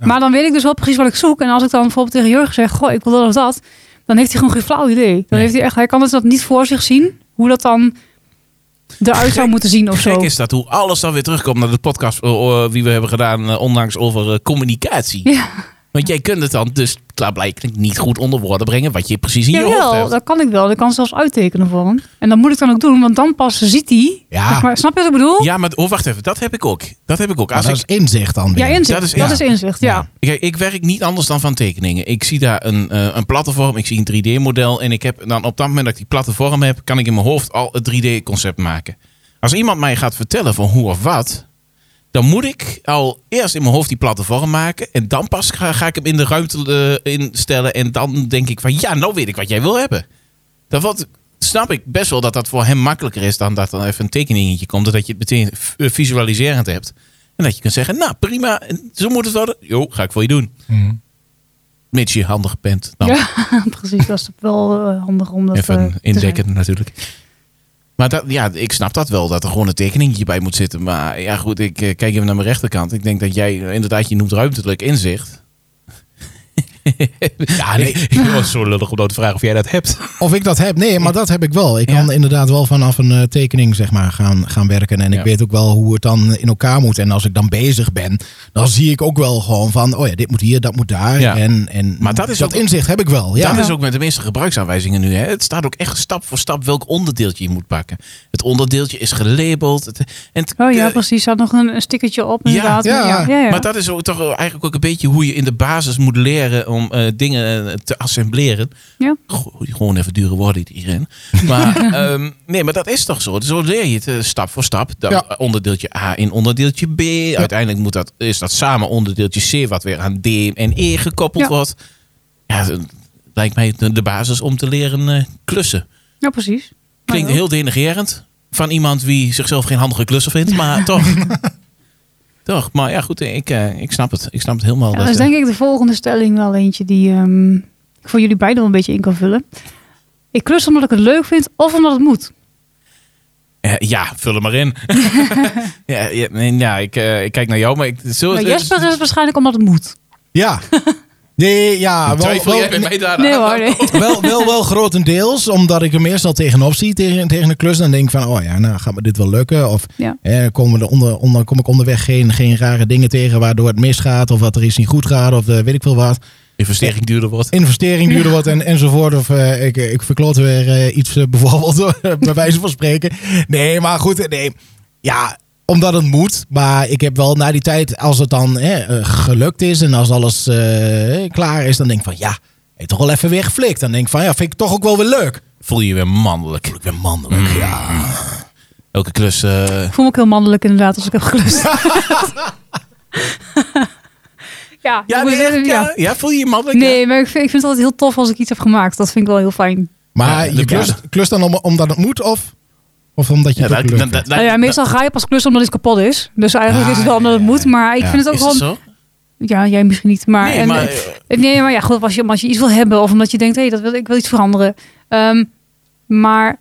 Ja. Maar dan weet ik dus wel precies wat ik zoek. En als ik dan bijvoorbeeld tegen Jurgen zeg, goh, ik wil dat of dat. Dan heeft hij gewoon geen flauw idee. Dan Nee. heeft hij echt, hij kan dus dat niet voor zich zien. Hoe dat dan eruit zou moeten zien of zo. Gek is dat hoe alles dan weer terugkomt naar de podcast eh, eh, die we hebben gedaan eh, onlangs over eh, communicatie. Ja. Want jij kunt het dan dus klaarblijkelijk niet goed onder woorden brengen wat je precies in je hoofd Jawel, hebt. dat kan ik wel. Ik kan zelfs uittekenen voor hem. En dat moet ik dan ook doen, want dan pas ziet hij. Ja. zeg maar, snap je wat ik bedoel? Ja, maar oh, wacht even. Dat heb ik ook. Dat heb ik ook. Maar Als dat ik, is inzicht dan Ja, weer. inzicht. dat Dat is- is, ja. inzicht, ja. Kijk, ik werk niet anders dan van tekeningen. Ik zie daar een, eh, een plattevorm, ik zie een 3D-model. En ik heb dan op dat moment dat ik die plattevorm heb, kan ik in mijn hoofd al het 3D-concept maken. Als iemand mij gaat vertellen van hoe of wat, dan moet ik al eerst in mijn hoofd die plattevorm maken. En dan pas ga, ga ik hem in de ruimte eh, instellen. En dan denk ik van ja, nou weet ik wat jij wil hebben. Dat wat, snap ik best wel dat dat voor hem makkelijker is dan dat er even een tekeningetje komt. Dat je het meteen v- eh, visualiserend hebt. En dat je kunt zeggen, nou prima, zo moet het worden. Jo, ga ik voor je doen. Mhm. Mits je handig bent. Dan Ja, precies. Dat is wel eh, handig om dat eh, te even zeggen. indekken natuurlijk. Maar dat, ja, ik snap dat wel, dat er gewoon een tekeningetje bij moet zitten. Maar ja goed, ik eh, kijk even naar mijn rechterkant. Ik denk dat jij, eh, inderdaad, je noemt ruimtelijk inzicht. ja, nee. Ik was zo lullig om nou te vragen of jij dat hebt. Of ik dat heb? Nee, maar dat heb ik wel. Ik kan Ja. inderdaad wel vanaf een eh, tekening zeg maar, gaan, gaan werken. En ik Ja. weet ook wel hoe het dan in elkaar moet. En als ik dan bezig ben, dan zie ik ook wel gewoon van... oh ja, dit moet hier, dat moet daar. Ja. En, en Maar dat is ook- inzicht heb ik wel. Ja. Dat is ook met de meeste gebruiksaanwijzingen nu. Hè. Het staat ook echt stap voor stap welk onderdeeltje je moet pakken. Het onderdeeltje is gelabeld. Het, en het- Oh ja, eh, precies. Zat nog een, een stickertje op inderdaad. ja, Maar dat is ook toch eigenlijk ook een beetje hoe je in de basis moet leren om eh, dingen eh, te assembleren. Ja. Go- gewoon even dure woorden hierin. Maar, ehm, nee, maar dat is toch zo. Zo leer je het eh, stap voor stap. Dan Ja. Onderdeeltje A in onderdeeltje B. Uiteindelijk moet dat, is dat samen onderdeeltje C wat weer aan D en E gekoppeld Ja. wordt. Ja, dat lijkt mij de de basis om te leren eh, klussen. ja, precies. Klinkt Maar- heel denigerend van iemand wie zichzelf geen handige klussen vindt, maar toch. toch, maar ja, goed, ik, eh, ik snap het. Ik snap het helemaal. Ja, dat is eh, denk ik de volgende stelling wel eentje die ehm, ik voor jullie beiden wel een beetje in kan vullen. Ik klus omdat ik het leuk vind of omdat het moet. eh, ja, vul hem maar in. ja, ja, nee, ja, ik, eh, ik kijk naar jou, maar ik. Zo, Maar Nou, Jesper is het waarschijnlijk omdat het moet. Ja. Nee, ja. Ah, Wel, Twijfel wel, jij bij mij daaraan? Nee hoor, nee. wel, wel, wel grotendeels, omdat ik er meestal tegenop zie tegen, tegen de klus. Dan denk ik van, oh ja, nou gaat me dit wel lukken. Of Ja. eh, komen we er onder, onder, kom ik onderweg geen, geen rare dingen tegen waardoor het misgaat. Of wat er iets niet goed gaat, of eh, weet ik veel wat. Investering duurder wordt. investering duurde wat en, enzovoort. Of eh, ik, ik verkloot weer eh, iets eh, bijvoorbeeld, bij wijze van spreken. Nee, maar goed, eh, nee. Ja, omdat het moet. Maar ik heb wel na die tijd, als het dan eh, eh, gelukt is en als alles eh, klaar is, dan denk ik van ja, heb je toch wel even weer geflikt. Dan denk ik van ja, vind ik toch ook wel weer leuk. Voel je je weer mannelijk. Ik ben mannelijk, Dus, ja. Elke klus. eh, Ik voel me ook heel mannelijk inderdaad als ik heb gelust. ja, ik ja, moet nee, zeggen, echt, ja. ja. ja, voel je je mannelijk? Nee, maar ik vind, ik vind het altijd heel tof als ik iets heb gemaakt. Dat vind ik wel heel fijn. Maar Ja, je de klust, bladen. klust dan om, omdat het moet of, of omdat je Ja, het ook dat, leuk dat, vindt? dat, Nou ja, meestal ga je pas klussen omdat iets kapot is. Dus eigenlijk Ah, is het wel omdat het ja, ja, moet. Maar ik ja. vind het ook is dat gewoon... zo? Ja, jij misschien niet. Maar, Nee, en- maar, eh, nee, maar ja, goed, als je, als je iets wil hebben of omdat je denkt, hé, hey, dat wil, ik wil iets veranderen. Ehm, maar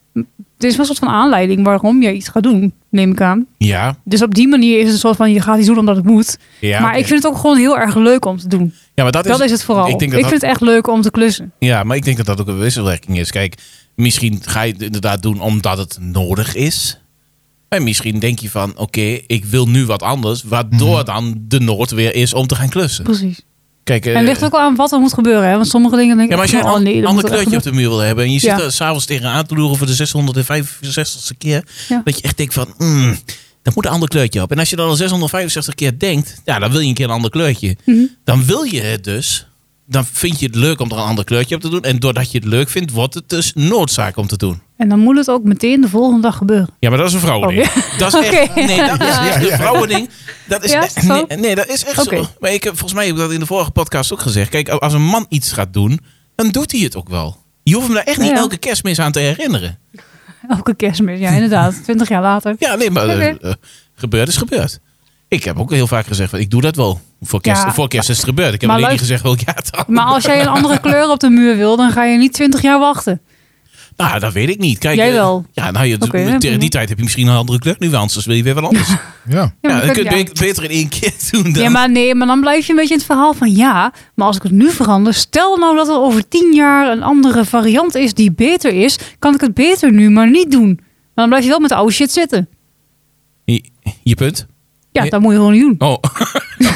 er is wel een soort van aanleiding waarom je iets gaat doen, neem ik aan. Ja, Dus op die manier is het een soort van, je gaat iets doen omdat het moet. ja. maar ik vind het ook gewoon heel erg leuk om te doen. ja, maar dat Dat is, het vooral. Ik Ik, denk dat dat- vind het echt leuk om te klussen. Ja, maar ik denk dat dat ook een wisselwerking is. Kijk, misschien ga je het inderdaad doen omdat het nodig is. En misschien denk je van, oké, ik wil nu wat anders. Waardoor Mhm. dan de nood weer is om te gaan klussen. Precies. Kijk, eh, en het ligt ook wel aan wat er moet gebeuren. Hè? Want sommige dingen denk ja, ik... maar als jij van, een oh, an- nee, dat ander moet echt kleurtje op de muur wil hebben... en je Ja. zit er s'avonds tegenaan te loeren voor de 665ste keer... Ja. dat je echt denkt van, mm, dat moet een ander kleurtje op. En als je dan al 665 keer denkt, ja, dan wil je een keer een ander kleurtje. Mhm. Dan wil je het dus. Dan vind je het leuk om er een ander kleurtje op te doen. En doordat je het leuk vindt, wordt het dus noodzaak om te doen. En dan moet het ook meteen de volgende dag gebeuren. Ja, maar dat is een vrouwending. Oh, Dat is echt, Oké. nee, dat is Ja. echt een vrouwending. Dat is Ja, echt, zo? nee, nee, dat is echt Oké. zo. Maar ik heb, volgens mij heb ik dat in de vorige podcast ook gezegd. Kijk, als een man iets gaat doen, dan doet hij het ook wel. Je hoeft hem daar echt niet Ja. elke kerstmis aan te herinneren. Elke kerstmis, ja inderdaad. Twintig jaar later. Ja, nee, maar eh, Oké. eh, gebeurd is gebeurd. Ik heb ook heel vaak gezegd, van, ik doe dat wel. Voor kerst, Ja. voor kerst is het gebeurd. Ik heb Maar alleen niet leuk- gezegd welk jaar het had. Maar als jij een andere kleur op de muur wil, dan ga je niet twintig jaar wachten. Nou, dat weet ik niet. Kijk, Jij eh, wel. Ja, nou, je, Oké, tegen prima. die tijd heb je misschien een andere kleurnuances. Wil je weer wat anders? Ja, Ja. Ja, maar dan kun kun- je ja. het be- beter in één keer doen dan. Ja, maar nee, maar dan blijf je een beetje in het verhaal van ja, maar als ik het nu verander, stel nou dat er over tien jaar een andere variant is die beter is, kan ik het beter nu maar niet doen. Maar dan blijf je wel met de oude shit zitten. Je, je punt? Ja, Nee. dat moet je gewoon niet doen. Oh.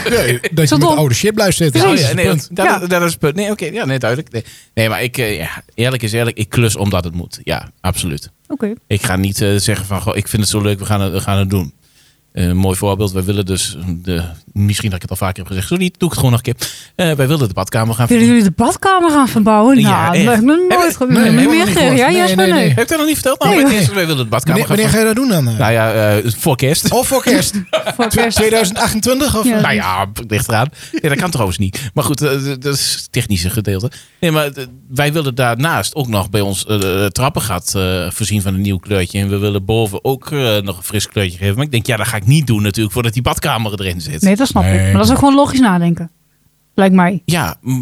Nee, dat je Zo met dom. oude shit blijft zitten. Oh Precies. Dat is Nou ja, het nee, punt. dat, Ja. dat- dat is het punt. Nee, oké, ja, nee, duidelijk. Nee, nee maar ik, eh, ja, eerlijk is eerlijk, ik klus omdat het moet. Ja, absoluut. Oké. Ik ga niet eh, zeggen van, goh, ik vind het zo leuk, we gaan het, we gaan het doen. Eh, een mooi voorbeeld, wij willen dus, de, misschien dat ik het al vaker heb gezegd, zo niet, doe ik het gewoon nog een keer. Eh, wij wilden de badkamer gaan Willen jullie de badkamer gaan verbouwen? Ja, nou, echt. dat heb ik nog nooit Hebben- gebeurd. nee, Nee, hebben we meer nog niet gegeven. Ja, gehoord. Jasper, Nee, nee. nee, nee. Heb ik dat nog niet verteld? Nou, Nee. maar eerst, wij wilden de badkamer Wanneer, wanneer gaan ga je dat doen dan? eh? Nou ja, eh, voor kerst. Of voor kerst? Voor kerst. 2028? Of, Ja. Nou ja, p- ligt eraan. Nee, dat kan trouwens niet. Maar goed, eh, d- dat is het technische gedeelte. Nee, maar eh, wij willen daarnaast ook nog bij ons eh, de trappengat eh, voorzien van een nieuw kleurtje. En we willen boven ook eh, nog een fris kleurtje geven. Maar ik denk, ja, dat ga ik niet doen natuurlijk voordat die badkamer erin zit. Nee, dat snap Nee. ik. Maar dat is ook gewoon logisch nadenken. Lijkt mij. Ja, m-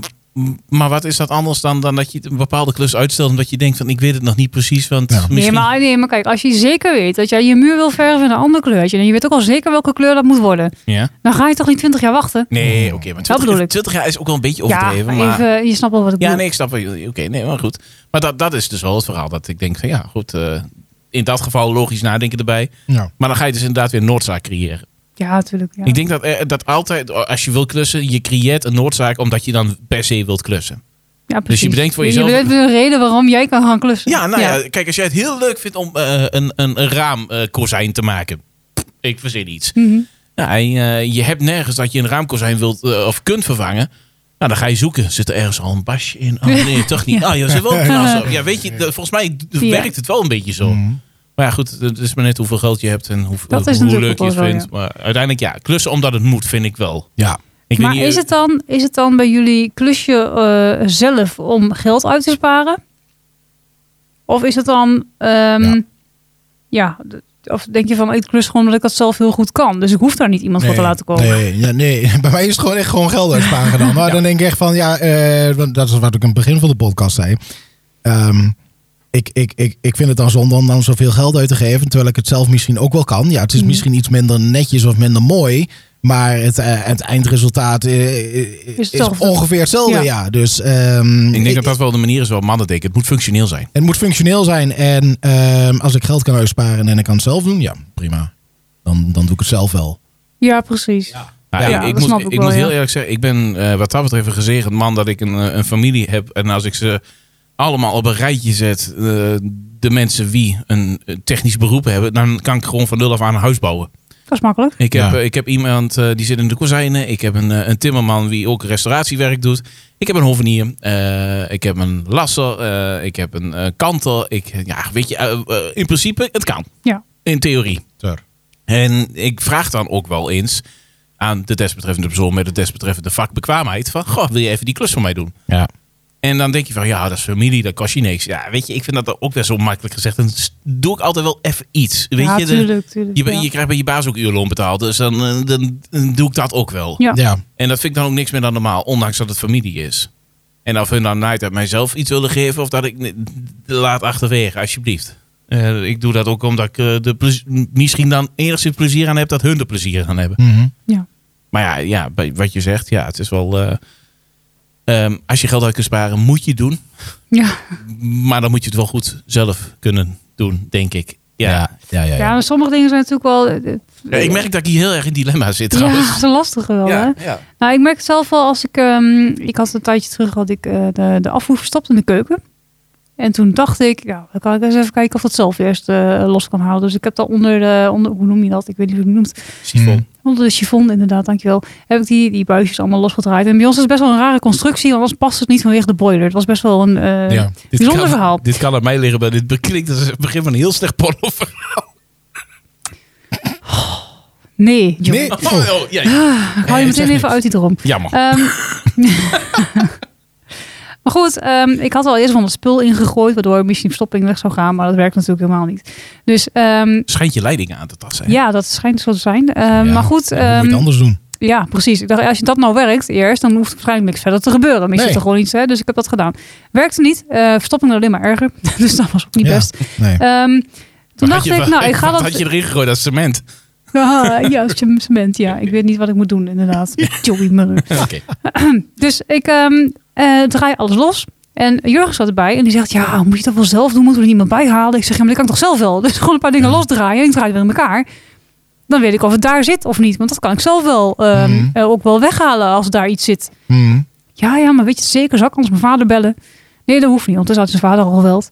Maar wat is dat anders dan, dan dat je een bepaalde klus uitstelt omdat je denkt van ik weet het nog niet precies, want Ja. misschien... Nee, maar, nee, maar kijk, als je zeker weet dat jij je muur wil verven in een ander kleurtje... en je weet ook al zeker welke kleur dat moet worden... Ja? dan ga je toch niet 20 jaar wachten? Nee, oké, maar bedoel 20, ik. 20 jaar is ook wel een beetje Ja, overdreven. maar... even, je snapt wel wat ik Ja, bedoel. nee, ik snap wel. Oké, nee, maar goed. Maar dat, dat is dus wel het verhaal dat ik denk van ja, goed. eh, in dat geval logisch nadenken erbij. Nou, Maar dan ga je dus inderdaad weer een noordzaak creëren. Ja, natuurlijk. Ja. Ik denk dat, eh, dat altijd, eh, als je wil klussen, je creëert een noordzaak omdat je dan per se wilt klussen. Ja, precies. dus bedenkt voor Je jezelf- bedenkt een reden waarom jij kan gaan klussen. Ja, nou ja. kijk, als jij het heel leuk vindt om eh, een, een, een raamkozijn te maken. Pff, Ik verzin iets. Mhm. Ja, en, eh, je hebt nergens dat je een raamkozijn wilt eh, of kunt vervangen. Nou, dan ga je zoeken. Zit er ergens al een basje in? Oh nee, toch niet. Ah, ja, ze wel een knas op. Ja, weet je, de- volgens mij d- Ja. werkt het wel een beetje zo. Mhm. Mm. Maar ja, goed, het is maar net hoeveel geld je hebt en hoe, Dat is hoe leuk natuurlijk je ook het wel zo, vindt. Maar uiteindelijk, ja, klussen omdat het moet, vind ik wel. ja. Ik maar is, het dan, is het dan bij jullie klusje eh, zelf om geld uit te sparen? Of is het dan, ehm, Ja. ja. d- of denk je van ik klus gewoon omdat ik dat zelf heel goed kan. Dus ik hoef daar niet iemand voor te laten komen. Nee, ja, nee, bij mij is het gewoon echt gewoon geld uitsparen dan. Maar dan denk ik echt van, ja, eh, want dat is wat ik aan het begin van de podcast zei. Ehm, ik, ik, ik, ik vind het dan zonde om dan zoveel geld uit te geven, terwijl ik het zelf misschien ook wel kan. Ja, het is Mhm. misschien iets minder netjes of minder mooi, maar het, eh, het eindresultaat eh, is, hetzelfde. ongeveer hetzelfde. Ja. Ja. Dus, ehm, Ik denk dat dat wel de manier is waarop mannen denken. Het moet functioneel zijn. Het moet functioneel zijn en ehm, als ik geld kan uitsparen en ik kan het zelf doen, ja, prima. Dan, dan doe ik het zelf wel. Ja, precies. Nou, Ja, ik, ik dat moet, snap ik ik moet wel, heel ja. eerlijk zeggen, ik ben eh, wat dat betreft een gezegend man dat ik een, eh, een familie heb. En als ik ze allemaal op een rijtje zet, eh, de mensen die een eh, technisch beroep hebben, dan kan ik gewoon van nul af aan een huis bouwen. Dat is makkelijk. Ik heb, Ja. eh, ik heb iemand eh, die zit in de kozijnen. Ik heb een, eh, een timmerman die ook restauratiewerk doet. Ik heb een hovenier. Eh, ik heb een lasser. eh, ik heb een eh, kanter. Ik, ja, weet je, eh, eh, in principe, het kan. Ja. In theorie. Ter. En ik vraag dan ook wel eens aan de desbetreffende persoon met de desbetreffende vakbekwaamheid van, goh, wil je even die klus voor mij doen? Ja. En dan denk je van, ja, dat is familie, dat kost je niks. Ja, weet je, ik vind dat ook best wel makkelijk gezegd. Dan s- doe ik altijd wel even iets. Weet ja, je, de- tuurlijk, tuurlijk. je, be- ja. je krijgt bij je baas ook uurloon betaald, dus dan, eh, dan, dan doe ik dat ook wel. Ja. ja. En dat vind ik dan ook niks meer dan normaal, ondanks dat het familie is. En of hun dan night uit mijzelf iets willen geven of dat ik nee, laat achterwege, alsjeblieft. Eh, ik doe dat ook omdat ik eh, de plez- misschien dan enigszins plezier aan heb dat hun er plezier aan hebben. Mhm. Maar ja, ja bij wat je zegt, ja, het is wel. eh, ehm, als je geld uit kunt sparen, moet je het doen. Ja. Maar dan moet je het wel goed zelf kunnen doen, denk ik. Ja. ja, ja. ja, maar sommige dingen zijn natuurlijk wel... eh, eh, Ja, ik merk dat ik hier heel erg in dilemma zit Ja, trouwens. dat is een lastige wel, hè? ja. Nou, ik merk het zelf wel als ik... ehm, ik had een tijdje terug had ik eh, de, de afvoer verstopt in de keuken. En toen dacht ik, ja, dan kan ik eens even kijken of dat zelf eerst eh, los kan houden. Dus ik heb daar onder de... Onder, hoe noem je dat? Ik weet niet hoe je het noemt. Sifon. Onder de chiffon, inderdaad, dankjewel. Heb ik die, die buisjes allemaal losgedraaid. En bij ons is het best wel een rare constructie, want anders past het niet vanwege de boiler. Het was best wel een... eh, Ja. Dit Bijzonder kan- verhaal. Dit kan aan mij liggen, maar dit beklinkt als het begin van een heel slecht porno. Nee, joh. Nee. Oh, oh, ja, ja. Ik hou je zeg meteen even niks. uit die droom. Jammer. Ehm, maar goed, ehm, ik had al eerst van het spul ingegooid, waardoor misschien verstopping weg zou gaan, maar dat werkt natuurlijk helemaal niet. Dus ehm, Schijnt je leiding aan te tasten. ja, dat schijnt zo te zijn. Ehm, Ja, maar goed, dan moet je ehm, het anders doen. ja, precies. Ik dacht, als je dat nou werkt eerst, dan hoeft er waarschijnlijk niks verder te gebeuren. Misschien Nee. is er gewoon iets, hè? dus ik heb dat gedaan. Werkte niet, eh, verstopping werd alleen maar erger, dus dat was ook niet Ja. best. Nee. Ehm, toen Wat dacht had je- ik, nou, ik ga wat dat... had je erin gegooid als cement? Ah, ja, cement, ja. Ik weet niet wat ik moet doen, inderdaad. Joey Murray. Oké. Dus ik ehm, eh, draai alles los. En Jurgen zat erbij en die zegt, ja, moet je dat wel zelf doen? Moet er iemand bij halen? Ik zeg, ja, maar dat kan ik toch zelf wel? Dus gewoon een paar dingen losdraaien en ik draai het weer in elkaar. Dan weet ik of het daar zit of niet. Want dat kan ik zelf wel ehm, Mhm. eh, ook wel weghalen als daar iets zit. Mhm. Ja, ja, maar weet je het zeker? Zal ik anders mijn vader bellen? Nee, dat hoeft niet, want dan had zijn vader al geweld.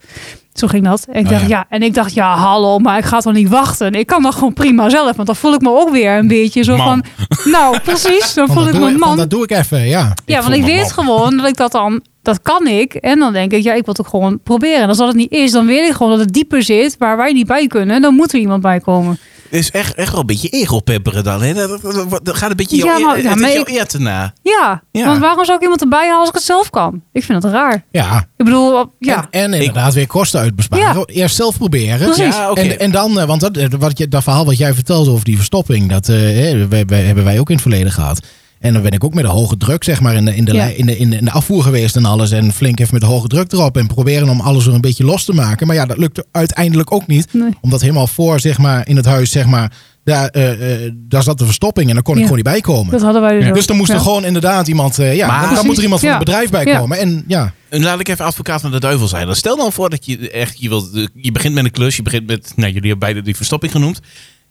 Zo ging dat. En ik Oh, dacht, ja. ja. En ik dacht, ja, hallo, maar ik ga toch niet wachten. Ik kan dat gewoon prima zelf, want dan voel ik me ook weer een beetje zo Man. van... Nou, precies, dan Want voel dat ik doe me een want man. Dat doe ik even, ja. Ja, want voel ik me weet gewoon dat ik dat dan, dat kan ik. En dan denk ik, ja, ik wil het ook gewoon proberen. En als dat het niet is, dan weet ik gewoon dat het dieper zit waar wij niet bij kunnen. Dan moet er iemand bij komen. Het is echt, echt wel een beetje ego-pepperen dan. Hè? Dat, dat- dat- dat gaat een beetje jouw Ja, maar- eer- ja, het is maar jouw nou. ik- eer te na. Ja, Ja. want waarom zou ik iemand erbij halen als ik het zelf kan? Ik vind dat raar. Ja. Ik bedoel, ja. En, en inderdaad weer kosten uitbesparen. Eerst zelf proberen. Precies. Ja, oké. En, en dan, eh, want dat, eh, wat je, dat verhaal wat jij vertelde over die verstopping, dat eh, hè, wij- wij- hebben wij ook in het verleden gehad. En En dan ben ik ook met de hoge druk, zeg maar, in de, in de, Ja. lei- in de, in de, in de afvoer geweest en alles. En flink even met de hoge druk erop. En proberen om alles er een beetje los te maken. Maar ja, dat lukt uiteindelijk ook niet. Nee. Omdat helemaal voor, zeg maar, in het huis, zeg maar, daar, eh, eh, daar zat de verstopping. En daar kon ik Ja. gewoon niet bij komen. Dat hadden wij dus ook. Dus dan moest er Ja. gewoon inderdaad iemand. eh, ja, Maar- dan- dan moet er iemand van Ja. het bedrijf bij Ja. komen. En ja, En laat ik even advocaat van de duivel zijn. Dan stel dan voor dat je echt, je, wilt, je begint met een klus. Je begint met, nou jullie hebben beide die verstopping genoemd.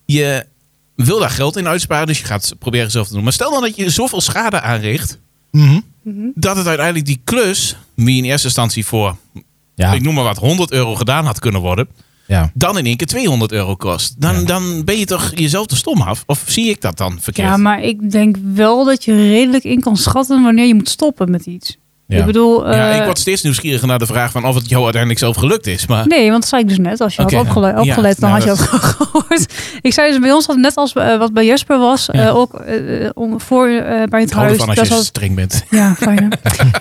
Je wil daar geld in uitsparen, dus je gaat het proberen zelf te doen. Maar stel dan dat je zoveel schade aanricht, mhm. dat het uiteindelijk die klus, die in eerste instantie voor, ja, ik noem maar wat, 100 euro gedaan had kunnen worden, ja. dan in één keer 200 euro kost. Dan, Ja. dan ben je toch jezelf te stom af? Of zie ik dat dan verkeerd? Ja, maar ik denk wel dat je redelijk in kan schatten wanneer je moet stoppen met iets. Ja. Ik bedoel, Ja, eh, ik word steeds nieuwsgieriger naar de vraag van of het jou uiteindelijk zelf gelukt is. Maar Nee, want dat zei ik dus net. Als je Ah. Oké. had opgele- Ja, opgelet, dan nou, had je dat gehoord. Ik zei dus bij ons, dat net als eh, wat bij Jesper was, Ja. eh, ook eh, om, voor eh, bij het ik hou huis. ervan als daar je zat- streng bent. ja, fijn. hè?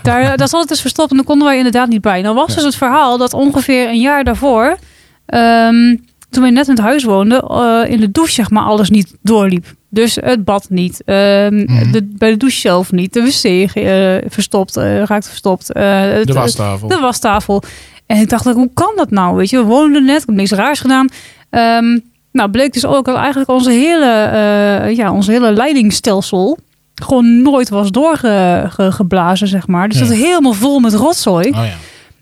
daar, eh, daar zat het dus verstopt en daar konden wij inderdaad niet bij. Nou was dus het verhaal dat ongeveer een jaar daarvoor, ehm, toen wij net in het huis woonden, eh, in de douche zeg maar alles niet doorliep. Dus het bad niet, ehm, Mhm. de, bij de douche zelf niet, de wc eh, verstopt, eh, raakt verstopt. eh, het- De wastafel. de wastafel. En ik dacht, hoe kan dat nou? Weet je, we woonden net, ik heb niks raars gedaan. Ehm, nou, bleek dus ook dat eigenlijk onze hele, eh, ja, ons hele leidingstelsel gewoon nooit was doorgeblazen, zeg maar. Dus Ja. dat is helemaal vol met rotzooi. Oh ja.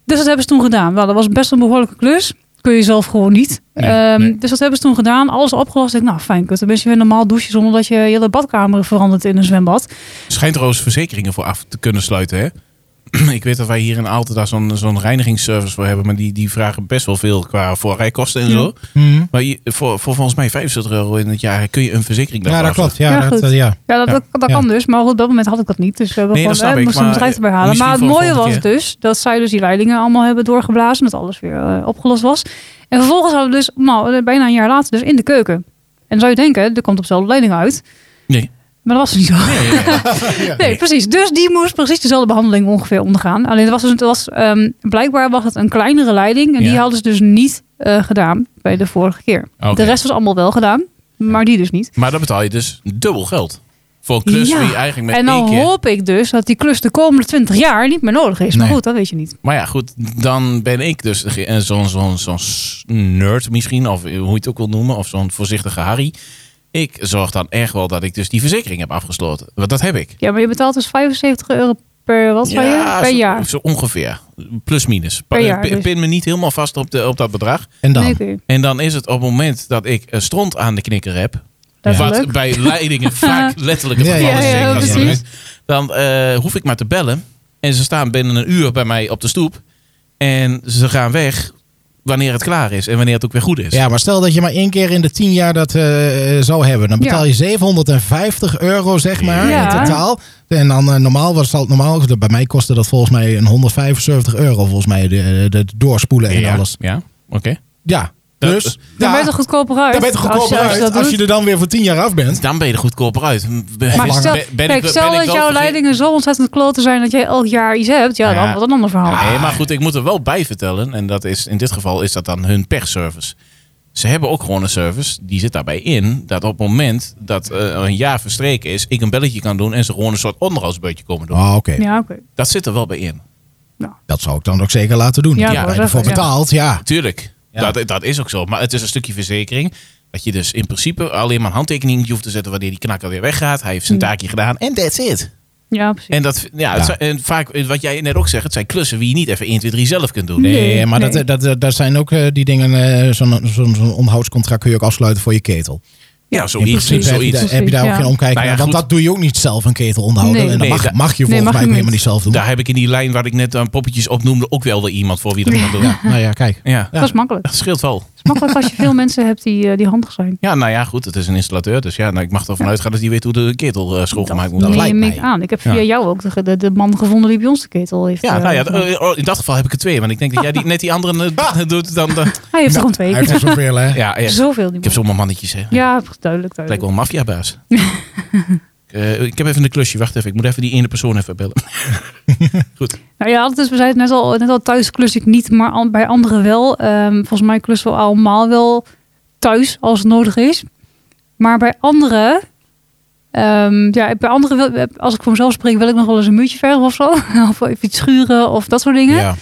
Dus dat hebben ze toen gedaan. Wel, dat was best een behoorlijke klus. Kun je zelf gewoon niet. Nee, Ehm, nee. Dus dat hebben ze toen gedaan. Alles opgelost. Ik dacht, nou fijn, kunt tenminste weer normaal douchen zonder dat je je hele badkamer verandert in een zwembad. Schijnt trouwens verzekeringen voor af te kunnen sluiten, hè? Ik weet dat wij hier in Aalten daar zo'n zo'n reinigingsservice voor hebben. Maar die, die vragen best wel veel qua voorrijkosten en Ja. zo. Mhm. Maar je- voor, voor volgens mij 75 euro in het jaar kun je een verzekering Ja, daarvoor dat klopt. Ja, Ja, dat, goed. eh, ja. Ja, dat, Ja, dat, dat ja. kan dus. Maar op dat moment had ik dat niet. Dus we hebben Nee, dat gewoon, eh, snap ik, moesten maar, een bedrijf eh, erbij halen. misschien Maar het voor de mooie was volgende dus dat zij dus die leidingen allemaal hebben doorgeblazen. Dat alles weer eh, opgelost was. En vervolgens hadden we dus, nou, eh, bijna een jaar later, dus in de keuken. En dan zou je denken, er komt op dezelfde leiding uit. Nee. Maar dat was niet zo. Nee, Ja, ja, ja. precies. Dus die moest precies dezelfde behandeling ongeveer ondergaan. Alleen het was dus, het was, ehm, blijkbaar was het een kleinere leiding. En Ja. die hadden ze dus niet eh, gedaan bij de vorige keer. Oké. De rest was allemaal wel gedaan, maar die dus niet. Maar dan betaal je dus dubbel geld. Voor een klus Ja. die je eigenlijk met en dan één keer... hoop ik dus dat die klus de komende 20 jaar niet meer nodig is. Maar Nee. goed, dat weet je niet. Maar ja, goed, dan ben ik dus ge- eh, zo'n zo'n zo'n s- nerd misschien, of hoe je het ook wil noemen, of zo'n voorzichtige Harry. Ik zorg dan echt wel dat ik dus die verzekering heb afgesloten. Want dat heb ik. Ja, maar je betaalt dus 75 euro per, wat zei je? per zo, jaar. Zo ongeveer. Plus minus. Per Eh, jaar pin- dus. Pin me niet helemaal vast op, de, op dat bedrag. En dan? Nee, oké. En dan is het op het moment dat ik eh, stront aan de knikker heb. Dat is wel wat leuk. bij leidingen vaak letterlijk het Ja, geval ja, is, ja, zeker als het precies. is. Dan eh, hoef ik maar te bellen. En ze staan binnen een uur bij mij op de stoep. En ze gaan weg wanneer het klaar is. En wanneer het ook weer goed is. Ja, maar stel dat je maar één keer in de tien jaar dat eh, eh, zou hebben. Dan betaal je 750 euro, zeg maar, Ja. in totaal. En dan eh, normaal was het normaal. Bij mij kostte dat volgens mij een 175 euro, volgens mij, de, eh, de doorspoelen en ja. alles. Ja, oké. Ja, Dat- dus... Dan ben ja, je toch goedkoper uit? daar ben je toch goedkoper als je, uit dat als doet? je er dan weer voor tien jaar af bent. Dan ben je er goedkoper uit. Maar Ben- stel, dus- ben ik- kijk, ben stel ik dat wel jouw verge- leidingen zo ontzettend kloten zijn dat jij elk jaar iets hebt. Ja, Nou Ja. dan wat een ander verhaal. Nee, maar goed, ik moet er wel bij vertellen. En dat is, in dit geval is dat dan hun pechservice. Ze hebben ook gewoon een service. Die zit daarbij in dat op het moment dat eh, een jaar verstreken is, ik een belletje kan doen en ze gewoon een soort onderhoudsbeurtje komen doen. Oh, oké. Ja, oké. Dat zit er wel bij in. Dat zou ik dan ook zeker laten doen. Ja, dat Ja, ben je wou ik ervoor zeggen, ja. betaald, ja. Tuurlijk, Ja. dat, dat is ook zo. Maar het is een stukje verzekering. Dat je dus in principe alleen maar een handtekening hoeft te zetten wanneer die knakker weer weggaat. Hij heeft zijn taakje gedaan en that's it. Ja, precies. En, dat, ja, Ja. het zijn- en vaak, eh, wat jij net ook zegt, het zijn klussen die je niet even 1, 2, 3 zelf kunt doen. Nee, Nee, maar nee. Dat, dat, dat, dat zijn ook eh, die dingen, eh, zo'n zo'n zo'n onderhoudscontract kun je ook afsluiten voor je ketel. Ja, In zoiets. principe heb je, zoiets. daar- heb je daar ook Ja. geen omkijk Nou ja, naar, want goed. dat doe je ook niet zelf een ketel onderhouden. Nee. En dat Nee, mag, dat- mag je nee, volgens mag mij je ook helemaal niet. niet zelf doen. Daar heb ik in die lijn waar ik net aan poppetjes opnoemde ook wel weer iemand voor wie dat kan doen. Ja, nou ja, kijk. Ja. Dat is makkelijk. Dat scheelt wel. Het is makkelijk als je veel mensen hebt die, eh, die handig zijn. Ja, nou ja, goed. Het is een installateur. Dus ja, nou, ik mag ervan uitgaan dat hij weet hoe de ketel eh, schoongemaakt moet dat worden. lijkt neem ik mij. aan. Ik heb Ja. via jou ook de, de, de man gevonden die bij ons de ketel heeft. Ja, eh, nou ja, gemaakt. d- oh, in dat geval heb ik er twee. Want ik denk dat jij die, net die andere Ah. eh, doet dan... de- Hij heeft er gewoon twee. Hij heeft er zoveel, hè? ja, ja, Zoveel die ik heb man. zomaar mannetjes, hè. Het Ja, duidelijk, duidelijk. lijkt wel een maffiabaas. Eh, ik heb even een klusje. Wacht even. Ik moet even die ene persoon even bellen. Nou ja, dat is, we zeiden het net al, net al thuis klus ik niet, maar an- bij anderen wel. Ehm, volgens mij klussen we allemaal wel thuis als het nodig is. Maar bij anderen Ehm, ja, bij anderen, wil- als ik voor mezelf spreek, wil ik nog wel eens een muurtje verven of zo. of even iets schuren of dat soort dingen. Ja.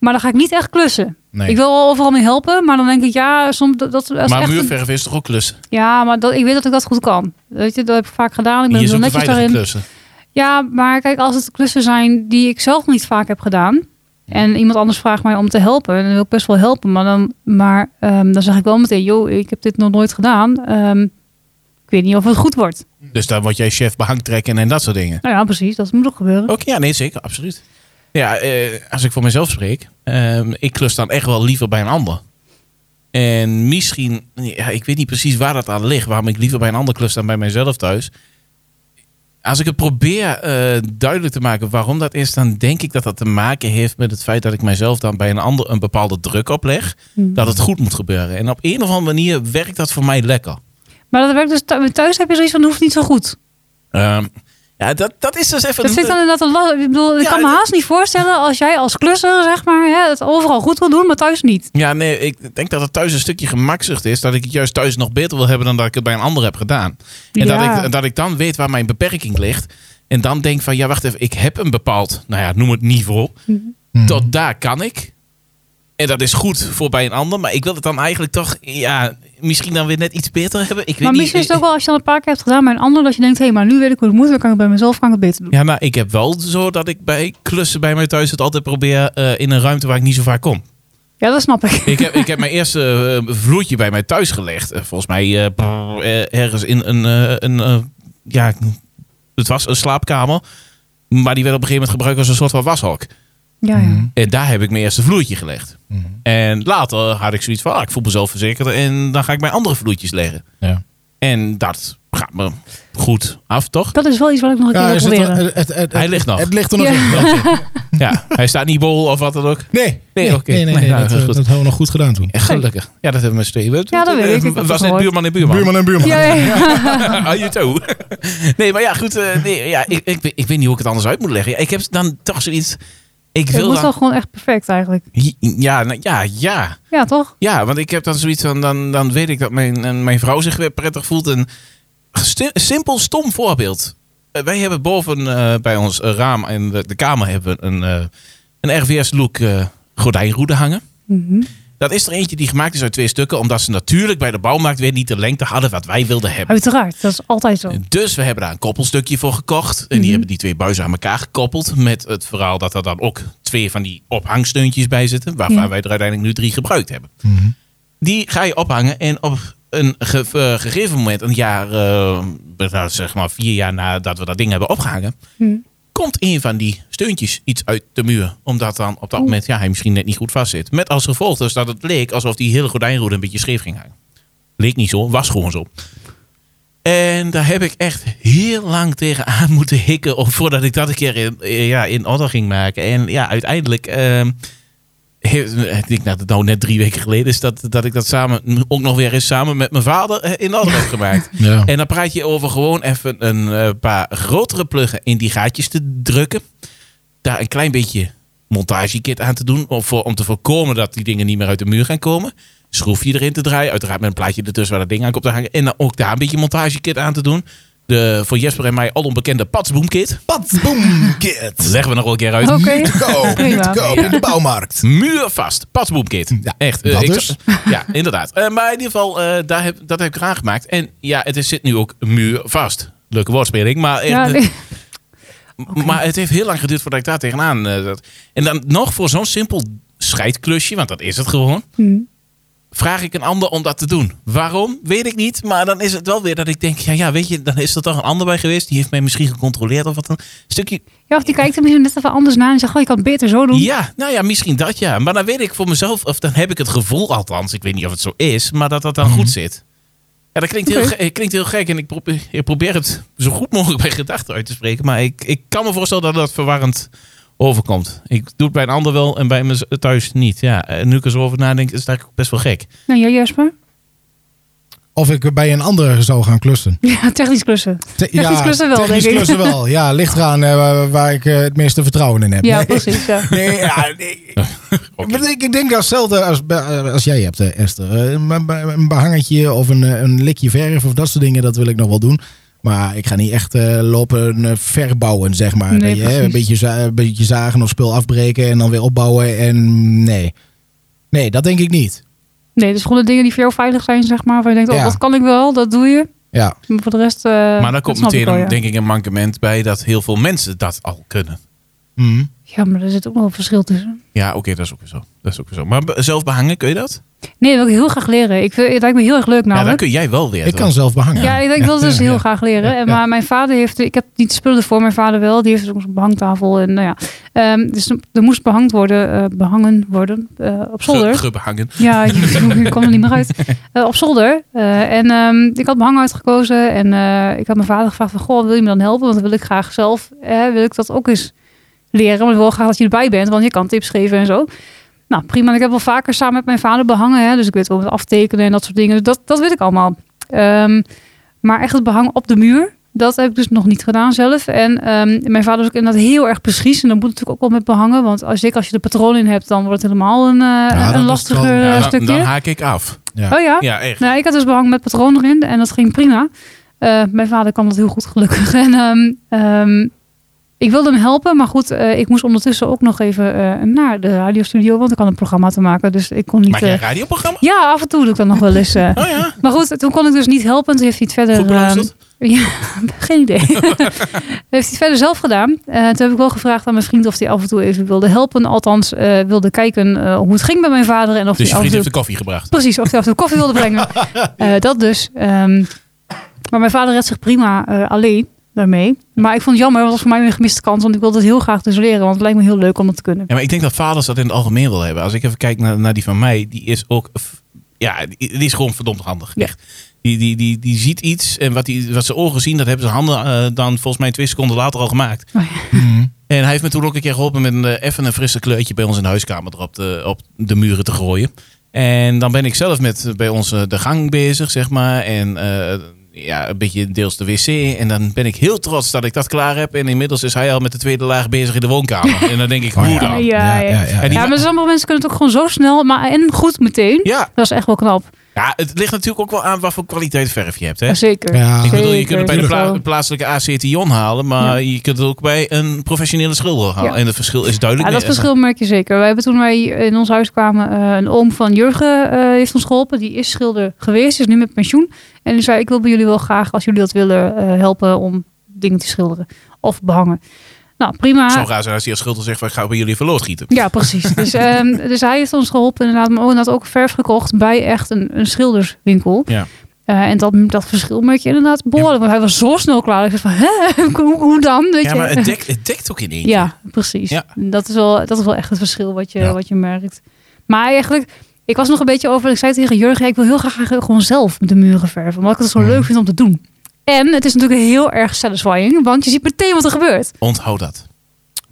Maar dan ga ik niet echt klussen. Nee. Ik wil wel overal mee helpen, maar dan denk ik, ja, soms dat, dat als Maar echt een- muurverf is toch ook klussen? Ja, maar dat, ik weet dat ik dat goed kan. Weet je, dat heb ik vaak gedaan. Ik ben Je heel zoekt de netjes veilige daarin. klussen. Ja, maar kijk, als het klussen zijn die ik zelf niet vaak heb gedaan. En iemand anders vraagt mij om te helpen. En dan wil ik best wel helpen. Maar dan, maar, ehm, dan zeg ik wel meteen, joh, ik heb dit nog nooit gedaan. Ehm, ik weet niet of het goed wordt. Dus dan word jij chef behangtrekken en dat soort dingen. Nou ja, precies. Dat moet ook gebeuren. Ook ja, nee zeker, absoluut. Ja, eh, als ik voor mezelf spreek, ehm, ik klus dan echt wel liever bij een ander. En misschien, ja, ik weet niet precies waar dat aan ligt, waarom ik liever bij een ander klus dan bij mijzelf thuis. Als ik het probeer eh, duidelijk te maken waarom dat is, dan denk ik dat dat te maken heeft met het feit dat ik mijzelf dan bij een ander een bepaalde druk opleg. Hmm. Dat het goed moet gebeuren. En op een of andere manier werkt dat voor mij lekker. Maar dat werkt dus thu- thuis heb je zoiets van, dat hoeft niet zo goed. Ehm, ja, dat, dat is dus even. Dat vind ik dan inderdaad een last. Ik bedoel, ik Ja, kan me dat- haast niet voorstellen als jij als klusser, zeg maar, hè, het overal goed wil doen, maar thuis niet. Ja, nee, ik denk dat het thuis een stukje gemakzucht is. Dat ik het juist thuis nog beter wil hebben dan dat ik het bij een ander heb gedaan. En Ja. dat, ik, dat ik dan weet waar mijn beperking ligt. En dan denk van, ja, wacht even, ik heb een bepaald, nou ja, noem het niveau. Mhm. Hmm. Tot daar kan ik. En dat is goed voor bij een ander. Maar ik wil het dan eigenlijk toch, ja, misschien dan weer net iets beter hebben. Ik weet Maar niet. misschien is het ook wel als je dan een paar keer hebt gedaan bij een ander, dat je denkt, hé, maar nu weet ik hoe het moet, dan kan ik het bij mezelf kan ik het beter doen. Ja, maar ik heb wel zo dat ik bij klussen bij mij thuis het altijd probeer eh, in een ruimte waar ik niet zo vaak kom. Ja, dat snap ik. Ik heb, ik heb mijn eerste eh, vloertje bij mij thuis gelegd. Eh, volgens mij eh, brrr, eh, ergens in een, eh, een eh, ja, het was een slaapkamer. Maar die werd op een gegeven moment gebruikt als een soort van washok. Ja, ja. En daar heb ik mijn eerste vloertje gelegd. Mhm. En later had ik zoiets van, ah, ik voel mezelf verzekerd. En dan ga ik mijn andere vloertjes leggen. Ja. En dat gaat me goed af, toch? Dat is wel iets wat ik nog een keer Ja, wil is het proberen. er- het- het- het- Hij ligt nog. Het ligt er nog Ja. in. Ja, hij staat niet bol of wat dan ook. Nee, Nee, oké. nee, nee, Nee, nee, nou, dat, dat is eh, goed. dat hebben we nog goed gedaan toen. En gelukkig. Ja, dat hebben we met z'n tweeën. Ja, dat weet ik. Ik heb Het het was net gehoord. buurman en buurman. Buurman en buurman. Ja, ja. Ah, je toe. Nee, maar ja, goed. eh, nee, ja, ik, ik, weet- ik weet niet hoe ik het anders uit moet leggen. Ja, Ik heb dan toch zoiets. Ik Het wil moet dan. wel gewoon echt perfect eigenlijk. Ja, nou, ja, ja. Ja, toch? Ja, want ik heb dan zoiets van. Dan, dan weet ik dat mijn, en mijn vrouw zich weer prettig voelt. Een sti- simpel, stom voorbeeld. Eh, wij hebben boven eh, bij ons eh, raam in de, de kamer hebben we een, eh, een RVS-look eh gordijnroede hangen. Mhm. Dat is er eentje die gemaakt is uit twee stukken, omdat ze natuurlijk bij de bouwmarkt weer niet de lengte hadden wat wij wilden hebben. Uiteraard, dat is altijd zo. Dus we hebben daar een koppelstukje voor gekocht. En die Mhm. hebben die twee buizen aan elkaar gekoppeld. Met het verhaal dat er dan ook twee van die ophangsteuntjes bij zitten. Waarvan Ja. wij er uiteindelijk nu drie gebruikt hebben. Mhm. Die ga je ophangen en op een ge- eh, gegeven moment, een jaar, eh, nou, zeg maar vier jaar nadat we dat ding hebben opgehangen. Mhm. Komt een van die steuntjes iets uit de muur. Omdat dan op Oh. dat moment ja, hij misschien net niet goed vastzit. Met als gevolg dus dat het leek alsof die hele gordijnroede een beetje scheef ging hangen. Leek niet zo, was gewoon zo. En daar heb ik echt heel lang tegenaan moeten hikken. Om, voordat ik dat een keer in, eh, ja, in orde ging maken. En ja, uiteindelijk. ehm, heeft- ik denk dat het nou net drie weken geleden is. Dat, dat ik dat samen, ook nog weer eens samen met mijn vader eh, in orde heb gemaakt. Ja. En dan praat je over gewoon even een eh, paar grotere pluggen in die gaatjes te drukken. Daar een klein beetje montagekit aan te doen. Om, voor, om te voorkomen dat die dingen niet meer uit de muur gaan komen. Schroefje erin te draaien. Uiteraard met een plaatje ertussen waar dat ding aan komt te hangen. En dan ook daar een beetje montagekit aan te doen. De voor Jesper en mij al onbekende patsboomkit. Pat, boom, Dat kid. leggen we nog wel een keer uit. Oké. Go, Prima. go, in de bouwmarkt. Muurvast. Patsboomkit. Ja, echt. eh, dat ik dus. zou- ja, inderdaad. Eh, maar in ieder geval, eh, daar heb, dat heb ik eraan gemaakt. En ja, het is, zit nu ook muurvast. Leuke woordspeling, maar, eh, Ja, eh, nee. m- maar het heeft heel lang geduurd voordat ik daar tegenaan... eh, dat, en dan nog voor zo'n simpel scheidklusje, want dat is het gewoon... Mhm. Vraag ik een ander om dat te doen. Waarom? Weet ik niet. Maar dan is het wel weer dat ik denk... Ja, ja weet je, dan is er toch een ander bij geweest. Die heeft mij misschien gecontroleerd of wat dan. Stukje Ja, of die kijkt er misschien net even anders naar en zegt, goh, je kan het beter zo doen. Ja, nou ja, misschien dat ja. Maar dan weet ik voor mezelf, of dan heb ik het gevoel althans, ik weet niet of het zo is, maar dat dat dan goed zit. Ja, dat klinkt heel, Mhm. Oké. ge- eh, klinkt heel gek en ik probeer, ik probeer het zo goed mogelijk bij gedachten uit te spreken. Maar ik, ik kan me voorstellen dat dat verwarrend overkomt. Ik doe het bij een ander wel en bij me thuis niet. Ja, en nu ik er zo over nadenk, is het eigenlijk best wel gek. Nou, jij Jesper? Of ik bij een ander zou gaan klussen. Ja, technisch klussen. Te- Technisch klussen wel, technisch denk ik. klussen wel. Ja, ligt eraan eh, waar, waar ik eh, het meeste vertrouwen in heb. Ja, Nee. precies. Ja. Nee, ja, nee. Maar Ik, ik denk dat hetzelfde als, bij- als jij hebt, eh, Esther. Eh, Een, be- een behangetje of een, eh, een likje verf of dat soort dingen, dat wil ik nog wel doen. Maar ik ga niet echt eh, lopen eh, verbouwen, zeg maar. Nee, Dat je, hè, precies. een, beetje za- een beetje zagen of spul afbreken en dan weer opbouwen. En nee. Nee, dat denk ik niet. Nee, dus gewoon de dingen die voor jou veilig zijn, zeg maar. Waar je denkt, oh, Ja. dat kan ik wel, dat doe je. Ja, Maar voor de rest... eh, maar daar dat komt snap ik meteen wel, een- ja. denk ik een mankement bij dat heel veel mensen dat al kunnen. Mhm. Ja, maar er zit ook nog een verschil tussen. Ja, oké, dat is ook weer zo. Dat is ook weer zo. Maar be- zelf behangen, kun je dat? Nee, dat wil ik heel graag leren. Ik vind, het lijkt me heel erg leuk Ja, dan namelijk. kun jij wel weer. ik toch? kan zelf behangen. Ja, ik, ik wil het dus heel graag leren. En, maar mijn vader heeft, ik heb niet de spullen ervoor, mijn vader wel. Die heeft soms een behangtafel. En, nou ja. Ehm, dus er moest behangd worden, eh, behangen worden eh, op zolder. Ge- gebehangen. Ja, ik kwam er niet meer uit. Eh, op zolder. Eh, en ehm, ik had mijn hang uitgekozen. En eh, ik had mijn vader gevraagd van... Goh, wil je me dan helpen? Want dan wil ik graag zelf... eh, wil ik dat ook eens leren. Maar ik wil graag dat je erbij bent. Want je kan tips geven en zo. Nou, prima. En Ik heb wel vaker samen met mijn vader behangen. Hè, dus ik weet wel met aftekenen en dat soort dingen. Dus dat, dat weet ik allemaal. Ehm, maar echt het behang op de muur... Dat heb ik dus nog niet gedaan zelf. En ehm, mijn vader is ook inderdaad heel erg precies. En dat moet natuurlijk ook wel met behangen. Want als, zeker als je de patroon in hebt, dan wordt het helemaal een, eh dat is een het lastiger wel- eh, Ja, dan, stukje. dan haak ik af. Ja. Oh ja? Ja, echt. Nou, ik had dus behang met patroon erin en dat ging prima. Eh, mijn vader kan dat heel goed, gelukkig. En ehm, ehm, ik wilde hem helpen, maar goed, eh, ik moest ondertussen ook nog even eh, naar de radiostudio, want ik had een programma te maken, dus ik kon niet... Maak jij een eh, radioprogramma? ja, af en toe doe ik dat nog wel eens. eh. Oh ja, Maar goed, toen kon ik dus niet helpen, toen heeft hij het verder... goed ehm, beluisterd. ja, geen idee. heeft hij het verder zelf gedaan. Eh, toen heb ik wel gevraagd aan mijn vriend of hij af en toe even wilde helpen. Althans, eh, wilde kijken eh, hoe het ging bij mijn vader. En of Dus je hij af en vriend toe heeft de koffie gebracht. Precies, of hij af en toe koffie wilde brengen. Eh, dat dus. Ehm, maar mijn vader redt zich prima eh, alleen daarmee. Maar ik vond het jammer, want dat was voor mij weer een gemiste kans. Want ik wilde het heel graag dus leren, want het lijkt me heel leuk om dat te kunnen. Ja, maar ik denk dat vaders dat in het algemeen wel hebben. Als ik even kijk naar, naar die van mij, die is ook. f- Ja, die die is gewoon verdomd handig. Ja. Echt. Die, die, die, die ziet iets en wat, die, wat zijn ogen zien, dat hebben zijn handen eh, dan volgens mij twee seconden later al gemaakt. Mhm. En hij heeft me toen ook een keer geholpen met een, eh, even een frisse kleurtje bij ons in de huiskamer erop de, op de muren te gooien. En dan ben ik zelf met eh, bij ons eh, de gang bezig, zeg maar. En eh, ja, een beetje deels de wc. En dan ben ik heel trots dat ik dat klaar heb. En inmiddels is hij al met de tweede laag bezig in de woonkamer. En dan denk ik, Oh, hoe ja. dan? Ja, ja. En die- Ja, maar sommige mensen kunnen het ook gewoon zo snel maar en goed meteen. Ja, Dat is echt wel knap. Ja, het ligt natuurlijk ook wel aan wat voor kwaliteit verf je hebt. Hè? Zeker. Ja. Ik bedoel, je Zeker, kunt het bij de zeker. pla- plaatselijke ACTION halen, maar je kunt het ook bij een professionele schilder halen. Ja. En het verschil is Ja, duidelijk. dat meer. verschil merk je zeker. Wij hebben toen wij in ons huis kwamen, eh, een oom van Jurgen eh, heeft ons geholpen. Die is schilder geweest, is nu met pensioen. En die zei, ik wil bij jullie wel graag, als jullie dat willen, eh, helpen om dingen te schilderen of behangen. Nou, prima. Zo raar zijn als die als schilder zegt, van, ik ga bij jullie verloot gieten. Ja, precies. Dus, ehm, dus hij heeft ons geholpen inderdaad. Maar ook, inderdaad ook verf gekocht bij echt een, een schilderswinkel. Ja. Eh, en dat, dat verschil merk je inderdaad behoorlijk. Want hij was zo snel klaar. Ik dacht van, hè? Hoe, hoe dan? Weet Ja, je? maar het dekt, het dekt ook in één. keer. Ja, precies. Ja. Dat, is wel, dat is wel echt het verschil wat je, Ja. wat je merkt. Maar eigenlijk, ik was nog een beetje over. Ik zei tegen Jurgen, ja, ik wil heel graag eigenlijk gewoon zelf de muren verven. Omdat ik het zo Mhm. leuk vind om te doen. En het is natuurlijk heel erg satisfying, want je ziet meteen wat er gebeurt. Onthoud dat.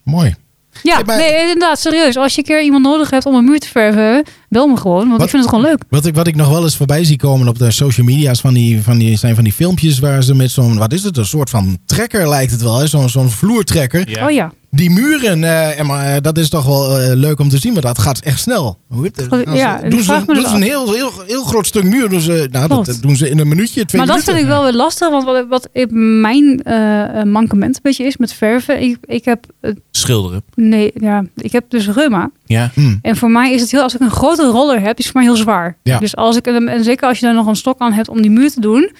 Mooi. Ja, Nee, maar- nee, inderdaad, serieus. Als je een keer iemand nodig hebt om een muur te verven, bel me gewoon, want Wat? ik vind het gewoon leuk. Wat ik, wat ik nog wel eens voorbij zie komen op de social media's van die, van die, zijn van die filmpjes waar ze met zo'n, wat is het, een soort van trekker lijkt het wel, hè? Zo'n, zo'n vloertrekker. Oh ja, Die muren, eh, en maar eh, dat is toch wel eh, leuk om te zien, maar dat gaat echt snel. Hoe- eh, Goed, als- ja, ik doen ze, vraag me doen dat ze een heel, heel, heel groot stuk muur, doen ze, nou, dat Klopt. doen ze in een minuutje, twee maar dat minuten. vind ik wel weer lastig, want wat, wat ik- mijn eh, eh, mankement een beetje is met verven. Ik, ik, heb, eh, Schilderen. nee, ja, ik heb dus reuma. Ja. Hmm. En voor mij is het heel, als ik een grote roller heb, is het voor mij heel zwaar. Ja. Dus als ik, en zeker als je daar nog een stok aan hebt om die muur te doen,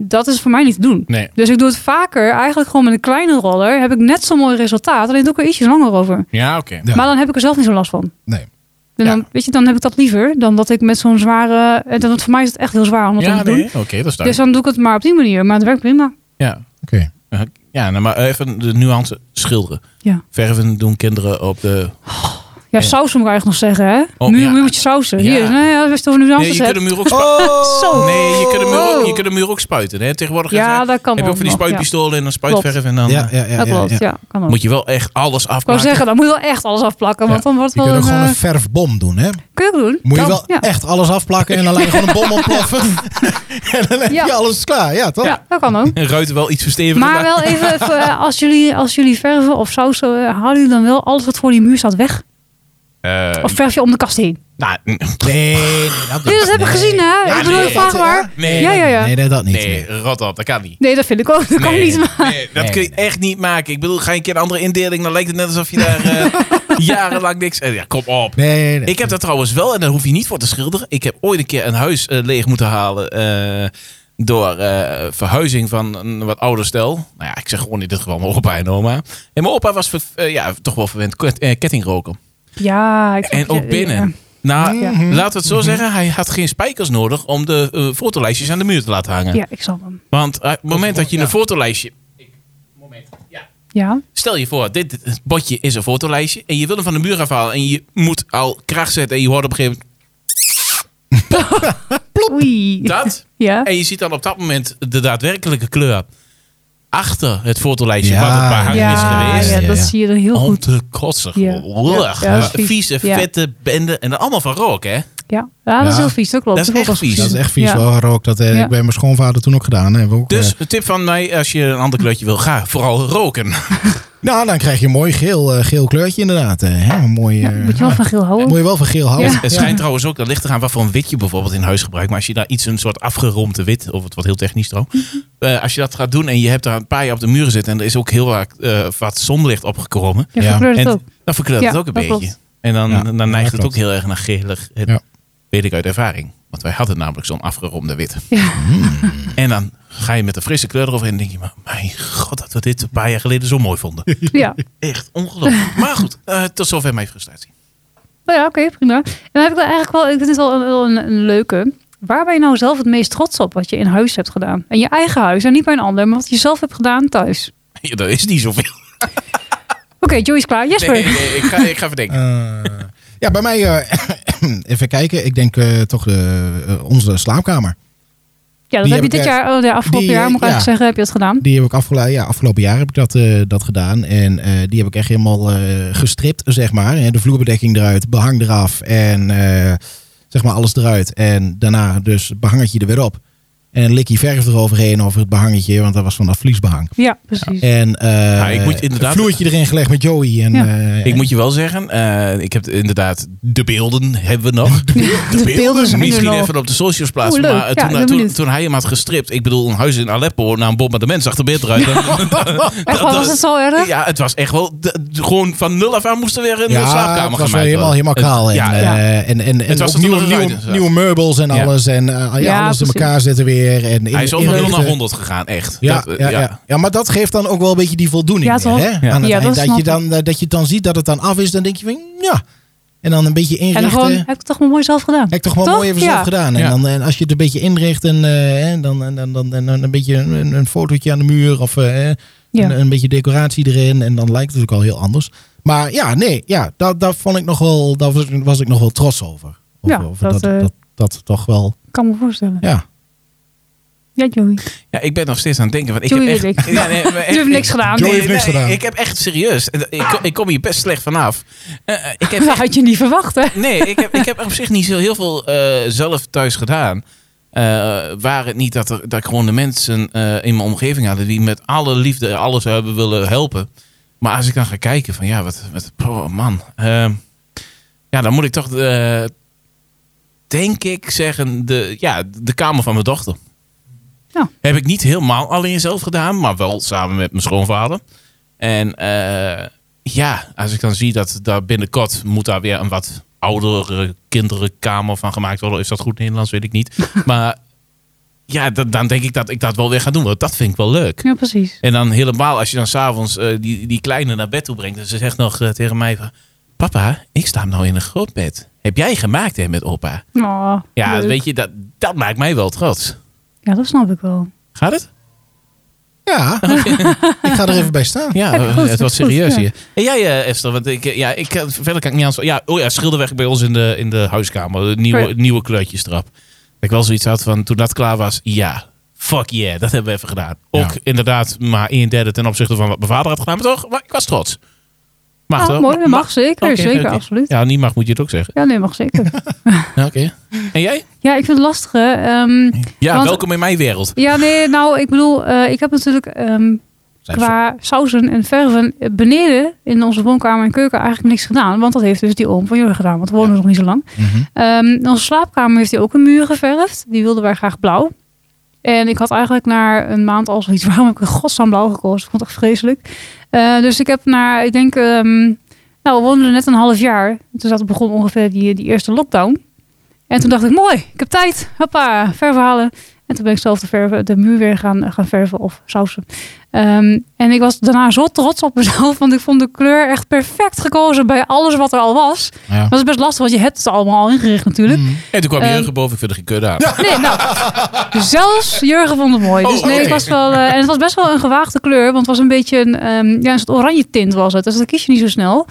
dat is voor mij niet te doen. Nee. Dus ik doe het vaker eigenlijk gewoon met een kleine roller. Heb ik net zo'n mooi resultaat, alleen doe ik er ietsjes langer over. Ja, oké. Ja. Maar dan heb ik er zelf niet zo last van. Nee. En dan, Ja. Weet je, dan heb ik dat liever dan dat ik met zo'n zware. En dan, voor mij is het echt heel zwaar om dat Ja, te doen. nee. Oké, dat is Dus duidelijk. dan doe ik het maar op die manier. Maar het werkt prima. Ja, Oké. Eh, ja nou, maar even de nuance schilderen. Ja. Verven doen kinderen op de... Ja, Ja. sausen moet ik eigenlijk nog zeggen, hè? Oh, muur, ja. muur moet je sausen. Ja. Hier, nee, ja, dat is toch nu anders. Nee, je kunt de muur ook spuiten. Oh! Nee, je kunt de muur ook, je kunt de muur ook spuiten. Hè? Tegenwoordig is ja, het- dat kan heb je wel ook van die nog, ja. spuitpistolen en dan spuitverf en dan... Ja, ja, ja. Dat ja, klopt, ja. ja. kan ook. Moet je wel echt alles Oh. Ik wou afmaken. zeggen, dan moet je wel echt alles afplakken. Want dan wordt Je het wel kunt een... ook gewoon eh, een verfbom doen, hè? kun je ook doen? Moet je Kan, wel ja. echt alles afplakken en dan laat je gewoon een bom ontploffen. en dan heb je Ja. alles klaar, ja toch? Ja, dat kan ook. En ruiten wel iets verstevigen. Maar wel even, even, eh, als, jullie, als jullie verven of sausen, eh, halen jullie dan wel alles wat voor die muur staat weg? Eh, Of verf je om de kast heen? nou, n- Nee, nee, dat Dit heb ik gezien, hè? ik bedoel, nee, ik vraag dat- maar. nee, ja, ja, ja. Nee, Nee, nee, dat niet. nee, nee. rot op, dat kan niet. dat vind ik ook. Dat kan Nee, niet. Maar. nee, dat Nee, kun je echt niet maken. Ik bedoel, ga je een keer een andere indeling, dan lijkt het net alsof je daar eh, jarenlang niks... eh, Ja, kom op. Nee, nee. Ik heb dat trouwens wel, en daar hoef je niet voor te schilderen. Ik heb ooit een keer een huis eh, leeg moeten halen. eh, door eh, verhuizing van een wat ouder stel. Nou ja, ik zeg gewoon in dit geval mijn opa en oma. En mijn opa was ver- eh, ja, toch wel verwend ket- eh, kettingroker. Ja, ik En ook binnen. Nou, Ja. Mhm. laten we het zo zeggen. Hij had geen spijkers nodig om de eh, fotolijstjes aan de muur te laten hangen. Ja, ja, ik snap hem. Want eh, op het moment dat je een fotolijstje... Ja. Stel je voor, dit, dit botje is een fotolijstje. En je wil hem van de muur afhalen. En je moet al kracht zetten. En je hoort op een gegeven Oei. moment dat. Ja. En je ziet dan op dat moment de daadwerkelijke kleur achter het fotolijstje Ja, wat op haar hangen is Ja, geweest. Oh. ja, Ja, dat ja. zie je er heel Om goed. te kotsen. Ja. Lullig. Ja, dat is vies. Vieze, Ja. vette bende. En dan allemaal van rook, hè? Ja. ja, dat is Ja. heel vies. Dat klopt. Dat is echt klopt. vies. Dat is echt vies Ja. wel rook. Dat heb Ja. ik bij mijn schoonvader toen ook gedaan. Hè. We ook, Dus eh, een tip van mij, als je een ander kleurtje wil, ga vooral roken. nou, dan krijg je een mooi geel, eh, geel kleurtje inderdaad. eh, hè. Een mooi, Ja, eh, moet je wel van geel houden. moet je wel van geel houden. Ja. Het schijnt trouwens ook, dat ligt eraan wat voor een wit je bijvoorbeeld in huis gebruikt. Maar als je daar iets, een soort afgerompte wit, of het wat heel technisch trouwens. Mhm. eh, als je dat gaat doen en je hebt daar een paar jaar op de muren zitten. En er is ook heel vaak eh, wat zonlicht opgekomen. Je Ja. verkleurt het En ook. dan verkleurt Ja, het ook een dat beetje. klopt. En dan, Ja, dan neigt dat het ook klopt. heel erg naar gelig. En Ja. Weet ik uit ervaring. Want wij hadden namelijk zo'n afgeronde wit. Ja. En dan ga je met een frisse kleur eroverheen. En denk je, maar mijn god, dat we dit een paar jaar geleden zo mooi vonden. ja. Echt ongelooflijk. Maar goed, eh, tot zover mijn frustratie. Oh ja, oké, prima. En dan heb ik dan eigenlijk wel, ik vind het wel een, wel een, een leuke. Waar ben je nou zelf het meest trots op wat je in huis hebt gedaan? En je eigen huis en niet bij een ander, maar wat je zelf hebt gedaan thuis. Ja, dat is niet zoveel. Oké, Joey is klaar. Jesper. Nee, nee, nee, ik, ga, ik ga verdenken. Eh, ja, bij mij, eh, even kijken. Ik denk eh, toch eh, eh, onze slaapkamer. ja, dat die heb je heb dit ik jaar, oh, ja, afgelopen die, jaar moet ik ja. eigenlijk zeggen, heb je het gedaan. Die heb ik afgelopen, ja, afgelopen jaar heb ik dat, eh, dat gedaan. En eh, die heb ik echt helemaal eh, gestript, zeg maar. Eh, De vloerbedekking eruit, behang eraf en eh, zeg maar alles eruit. En daarna dus het behangetje er weer op. En een likje verf eroverheen over het behangetje, want dat was van dat vliesbehang. Ja, precies. En eh ik moet je inderdaad- een vloertje erin gelegd met Joey. En, Ja. eh, Ik moet je wel zeggen, eh, ik heb inderdaad de beelden hebben we nog. De, beelden zijn er Misschien nog. even op de socials plaatsen. Oeh, leuk. maar Ja, eh, toen, ik ben toen, benieuwd. toen hij hem had gestript, ik bedoel, een huis in Aleppo na een bombardement zag er beter uit. Echt wel, was het zo erg? Ja, het was echt wel. de- de- gewoon van nul af aan moest er weer een ja, slaapkamer het was wel gemaakt helemaal, worden. helemaal kaal. En, ja, eh, ja. en, en, en was ook er toen nieuwe, nog een nieuwe, ruimte, nieuwe meubels en Ja. alles. En eh, ja, Ja, alles in precies. elkaar zetten weer. En in- Hij is ook van 0 naar inrichten. 100 gegaan, echt. Ja, Dat, eh, ja, ja, ja. maar dat geeft dan ook wel een beetje die voldoening. Ja, weer, toch? hè? Ja. Aan het Ja, eind. dat dat, snap je dan, eh, dat je dan ziet dat het dan af is, dan denk je van ja. En dan een beetje en dan inrichten. gewoon, heb ik het toch maar mooi zelf gedaan. heb eh, ik toch wel Toch? mooi even Ja. zelf gedaan. En, Ja. dan, en als je het een beetje inricht en eh, hè, dan, en dan, dan, dan, dan een beetje een, een fotootje aan de muur of eh, Ja. een, een beetje decoratie erin. En dan lijkt het ook al heel anders. Maar ja, nee, ja, daar, daar, vond ik nog wel, daar was, was ik nog wel trots over. Of, Ja, of dat, dat, eh, dat, dat toch wel, Ik kan me voorstellen. ja. Ja, Joey. Ja, ik ben nog steeds aan het denken. Want ik Joey heb echt, weet ik. Ja, nee, maar echt- Je hebt niks gedaan. Joey heeft niks gedaan. Ik heb echt serieus. en Ik, ik kom hier best slecht vanaf. Eh, eh, ik heb Dat had je niet verwacht, hè? Nee, ik heb, ik heb op zich niet zo heel veel eh, zelf thuis gedaan. Eh waar het niet dat, er, dat ik gewoon de mensen eh, in mijn omgeving hadden die met alle liefde alles hebben willen helpen. Maar als ik dan ga kijken van ja, wat, wat oh man. Ehm, ja, dan moet ik toch, eh, denk ik zeggen, de, ja, de kamer van mijn dochter. Ja. Heb ik niet helemaal alleen zelf gedaan, maar wel samen met mijn schoonvader. En eh, ja, als ik dan zie dat daar binnenkort moet daar weer een wat oudere kinderenkamer van gemaakt worden. Is dat goed Nederlands? Weet ik niet. Maar ja, dat- dan denk ik dat ik dat wel weer ga doen. Want dat vind ik wel leuk. Ja, precies. En dan helemaal als je dan s'avonds eh die, die kleine naar bed toe brengt. En ze zegt nog eh, tegen mij van... Papa, ik sta nou in een groot bed. Heb jij gemaakt hè, met opa? Oh, Ja, leuk. weet je, dat, dat maakt mij wel trots. ja, dat snap ik wel. Gaat het? Ja, ik ga er even bij staan. Ja, Ja, eh, goed, het was goed, serieus ja. hier. En jij eh, Esther, want ik, eh, ja, ik, kan- verder kan ik niet aan... Ja, oh ja, schilderwerk bij ons in de, in de huiskamer. De Nieuwe, Ja. nieuwe kleurtjes erop. Dat ik wel zoiets had van, toen dat klaar was, ja, fuck yeah, dat hebben we even gedaan. Ook Ja. inderdaad maar een derde ten opzichte van wat mijn vader had gedaan. Maar toch, maar ik was trots. Mag Ah, toch? mooi, dat mag zeker. Oké, zeker, oké. absoluut. Ja. Ja, niet mag moet je het ook zeggen. nee, mag zeker. Ja, Oké. En jij? ja, ik vind het lastig. hè. Ehm, Ja, Want- welkom in mijn wereld. ja, nee, nou, ik bedoel, eh, ik heb natuurlijk ehm, Zijn qua sausen en verven eh, beneden in onze woonkamer en keuken eigenlijk niks gedaan. Want dat heeft dus die oom van jullie gedaan, want we wonen nog niet zo lang. Mhm. Ehm, onze slaapkamer heeft hij ook een muur geverfd. Die wilden wij graag blauw. En ik had eigenlijk na een maand al zoiets, waarom heb ik in godsnaam blauw gekozen? Ik vond het echt vreselijk. Eh, dus ik heb na, ik denk, ehm, nou we woonden er net een half jaar. Toen zat, begon ongeveer die, die eerste lockdown. En toen dacht ik, mooi, ik heb tijd. Hoppa, ververhalen. En toen ben ik zelf de, verven, de muur weer gaan, gaan verven of sausen. Ehm, en ik was daarna zo trots op mezelf, want ik vond de kleur echt perfect gekozen bij alles wat er al was. Ja. Dat is best lastig, want je hebt het allemaal al ingericht natuurlijk. Mhm. En toen kwam Ehm, Jurgen boven, ik vind er geen kudde aan. Nee, nou, zelfs Jurgen vond het mooi. Dus Oh, nee, oké. het was wel, eh, en het was best wel een gewaagde kleur, want het was een beetje een, ehm, ja, een soort oranje tint was het. Dus dat kies je niet zo snel.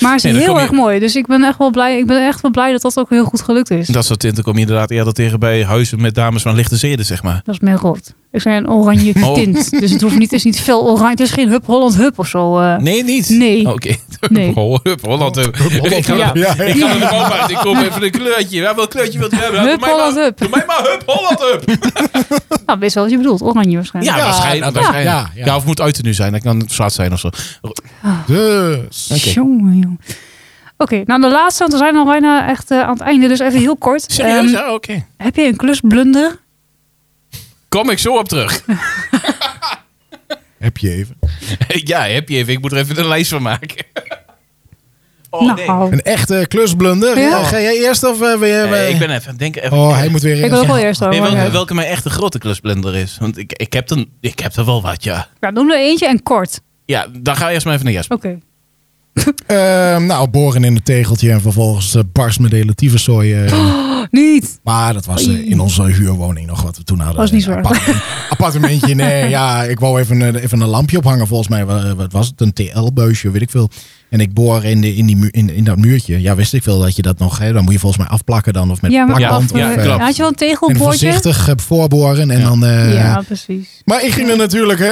Maar het is Nee, dat heel kom je- erg mooi. Dus ik ben echt wel blij. Ik ben echt wel blij dat dat ook heel goed gelukt is. Dat soort tinten kom je inderdaad eerder tegen bij huizen met dames van lichte zeden, zeg maar. Dat is mijn rood. Ik zei een oranje Oh. tint. Dus het hoeft niet, het is niet veel oranje. Het is geen Hup Holland Hup of zo. eh. Nee, niet. Nee. Oké. Nee. Oh, Hup, Holland. Hup. Ik ga Ja. Ja. Ja, ja. ik ga naar de boom uit. Ik kom even een kleurtje. Ja, welk kleurtje wilt u hebben? Ja, Hup, doe mij Holland, maar- hup. Doe mij maar hup, Holland, hup. Nou, weet wel wat je bedoelt. Oranje waarschijnlijk. Ja, Ja, waarschijnlijk. ja, waarschijnlijk. ja. Ja, of moet uit te nu zijn. Dat kan zwart zijn of zo. Dus. Oké. Jongen, jongen. Oké, nou de laatste, want we zijn al bijna echt eh, aan het einde. Dus even heel kort. Serieus? Ehm, Ja, oké. heb je een klusblunder? Kom ik zo op terug. Heb je even. ja, heb je even. Ik moet er even een lijst van maken. Oh, nou, nee. Een echte klusblunder. Ja. Eh, Ga jij eerst of eh, wil jij... Eh, ik ben even aan het denken. Even, Oh, hij moet weer ik wil ook wel eerst Nee, over. welke, welke mijn echte grote klusblender is. Want ik, ik, heb er, ik heb er wel wat, ja. Ja, noem er eentje en kort. Ja, dan ga je eerst maar even naar Jasper. Oké. Ehm, nou, boren in het tegeltje en vervolgens eh, barst met de hele tyfuszooi. eh. Oh, Niet. Maar dat was eh, Oh. Oei. in onze huurwoning nog wat we toen hadden. Was niet zo Een erg. appartement- appartementje, nee. Ja, ik wou even, een- even een lampje ophangen volgens mij. Wa- eh, Wat was het? Een TL-beusje, weet ik veel. En ik boor in, de, in, die, mu- in, in dat muurtje. Ja, wist ik veel dat je dat nog... Hè, dan moet je volgens mij afplakken dan. Of met Ja, maar plakband. af, afplakken, of, ja, eh, eh, klopt. had je wel een en tegelbordje? voorzichtig eh, voorboren. En Ja. dan... eh, ja, precies. Maar ik ging er natuurlijk... hè,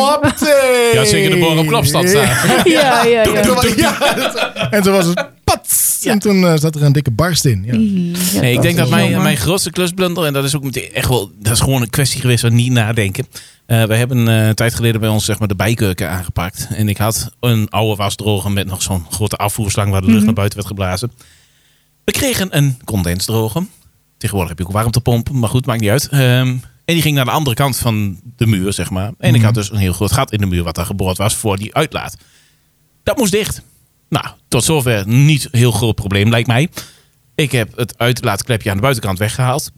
op thee. Ja, zeker de boren op klapstand staan. Ja, ja, ja. En toen was- ja, en toen was het pats. En toen eh, zat er een dikke barst in. Ja. Ja, Nee, ik denk dat is mijn, jammer. mijn grootste klusblunder, en dat is ook meteen echt wel, dat is gewoon een kwestie geweest van niet nadenken. Eh we hebben eh, een tijd geleden bij ons zeg maar, de bijkeuken aangepakt. En ik had een oude wasdroger met nog zo'n grote afvoerslang waar de Mhm. lucht naar buiten werd geblazen. We kregen een condensdroger. Tegenwoordig heb je ook warmtepompen, maar goed, maakt niet uit. Ehm, en die ging naar de andere kant van de muur, zeg maar. En ik Mhm. had dus een heel groot gat in de muur wat daar geboord was voor die uitlaat. Dat moest dicht. Nou, tot zover niet heel groot probleem, lijkt mij. Ik heb het uitlaatklepje aan de buitenkant weggehaald.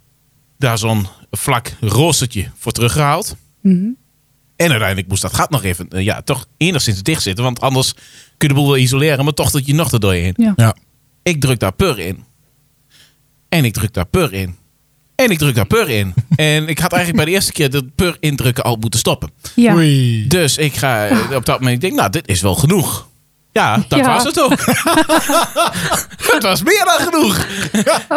Daar zo'n vlak roostertje voor teruggehaald. Mhm. En uiteindelijk moest dat gat nog even, eh, ja, toch enigszins dicht zitten. Want anders kun je de boel wel isoleren, maar toch dat je nog er doorheen. Ja. Ja. Ik druk daar pur in. En ik druk daar pur in. En ik druk daar pur in. en ik had eigenlijk bij de eerste keer dat pur indrukken al moeten stoppen. Ja. Oei. Dus ik ga eh, op dat moment, ik denk, nou, dit is wel genoeg. Ja, dat Ja. was het ook. het was meer dan genoeg.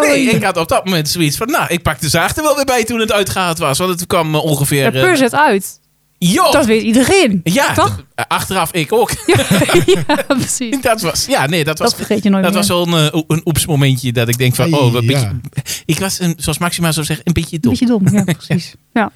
Nee, Oei. ik had op dat moment zoiets van, nou, ik pak de zaag er wel weer bij toen het uitgehaald was. Want het kwam eh, Ja, ongeveer... eh, pur zet uit. joh! Dat weet iedereen. ja, toch? eh, achteraf ik ook. ja, precies. dat was, ja, nee, dat was... Dat vergeet je nooit dat meer. was wel een, eh, o- een oepsmomentje dat ik denk van, Ai, oh, wat een ja. beetje, ik was, een, zoals Maxima zou zeggen, een beetje Een dom. beetje dom, ja, precies. Ja.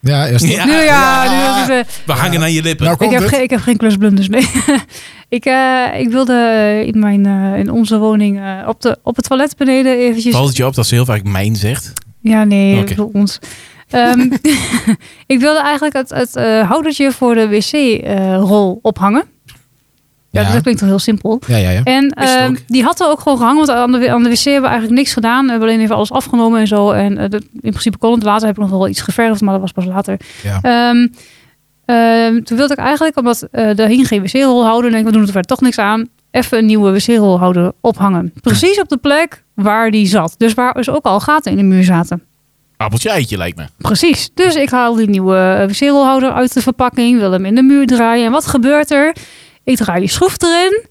Ja, eerst. Ja, Nu ja, nu is het, eh, we hangen aan je lippen. Nou ik, komt heb het. geen, ik heb geen klusblunders, nee. ik, eh, ik wilde eh, in, mijn, eh, in onze woning eh, op, de, op het toilet beneden eventjes Valt het je op dat ze heel vaak mijn zegt? Ja, nee, Oké. ik bedoel ons. Ehm, ik wilde eigenlijk het, het eh, houdertje voor de wc-rol ophangen. Ja. Ja. dat klinkt toch heel simpel. Ja, ja, ja. En Is het ehm, ook. die had er ook gewoon gehangen, want aan de, aan de wc hebben we eigenlijk niks gedaan. We hebben alleen even alles afgenomen en zo. En eh, dat- in principe kon het later, heb ik nog wel iets geverfd, maar dat was pas later. Ja. Ehm, ehm, toen wilde ik eigenlijk, omdat eh daar hing geen wc-rol houden, denk ik, we doen er verder toch niks aan, even een nieuwe wc-rol houden ophangen. Precies op de plek waar die zat. Dus waar dus ook al gaten in de muur zaten. Appeltje eitje lijkt me. Precies. Dus ik haal die nieuwe wc-rolhouder uit de verpakking, wil hem in de muur draaien. En wat gebeurt er? Ik draai die schroef erin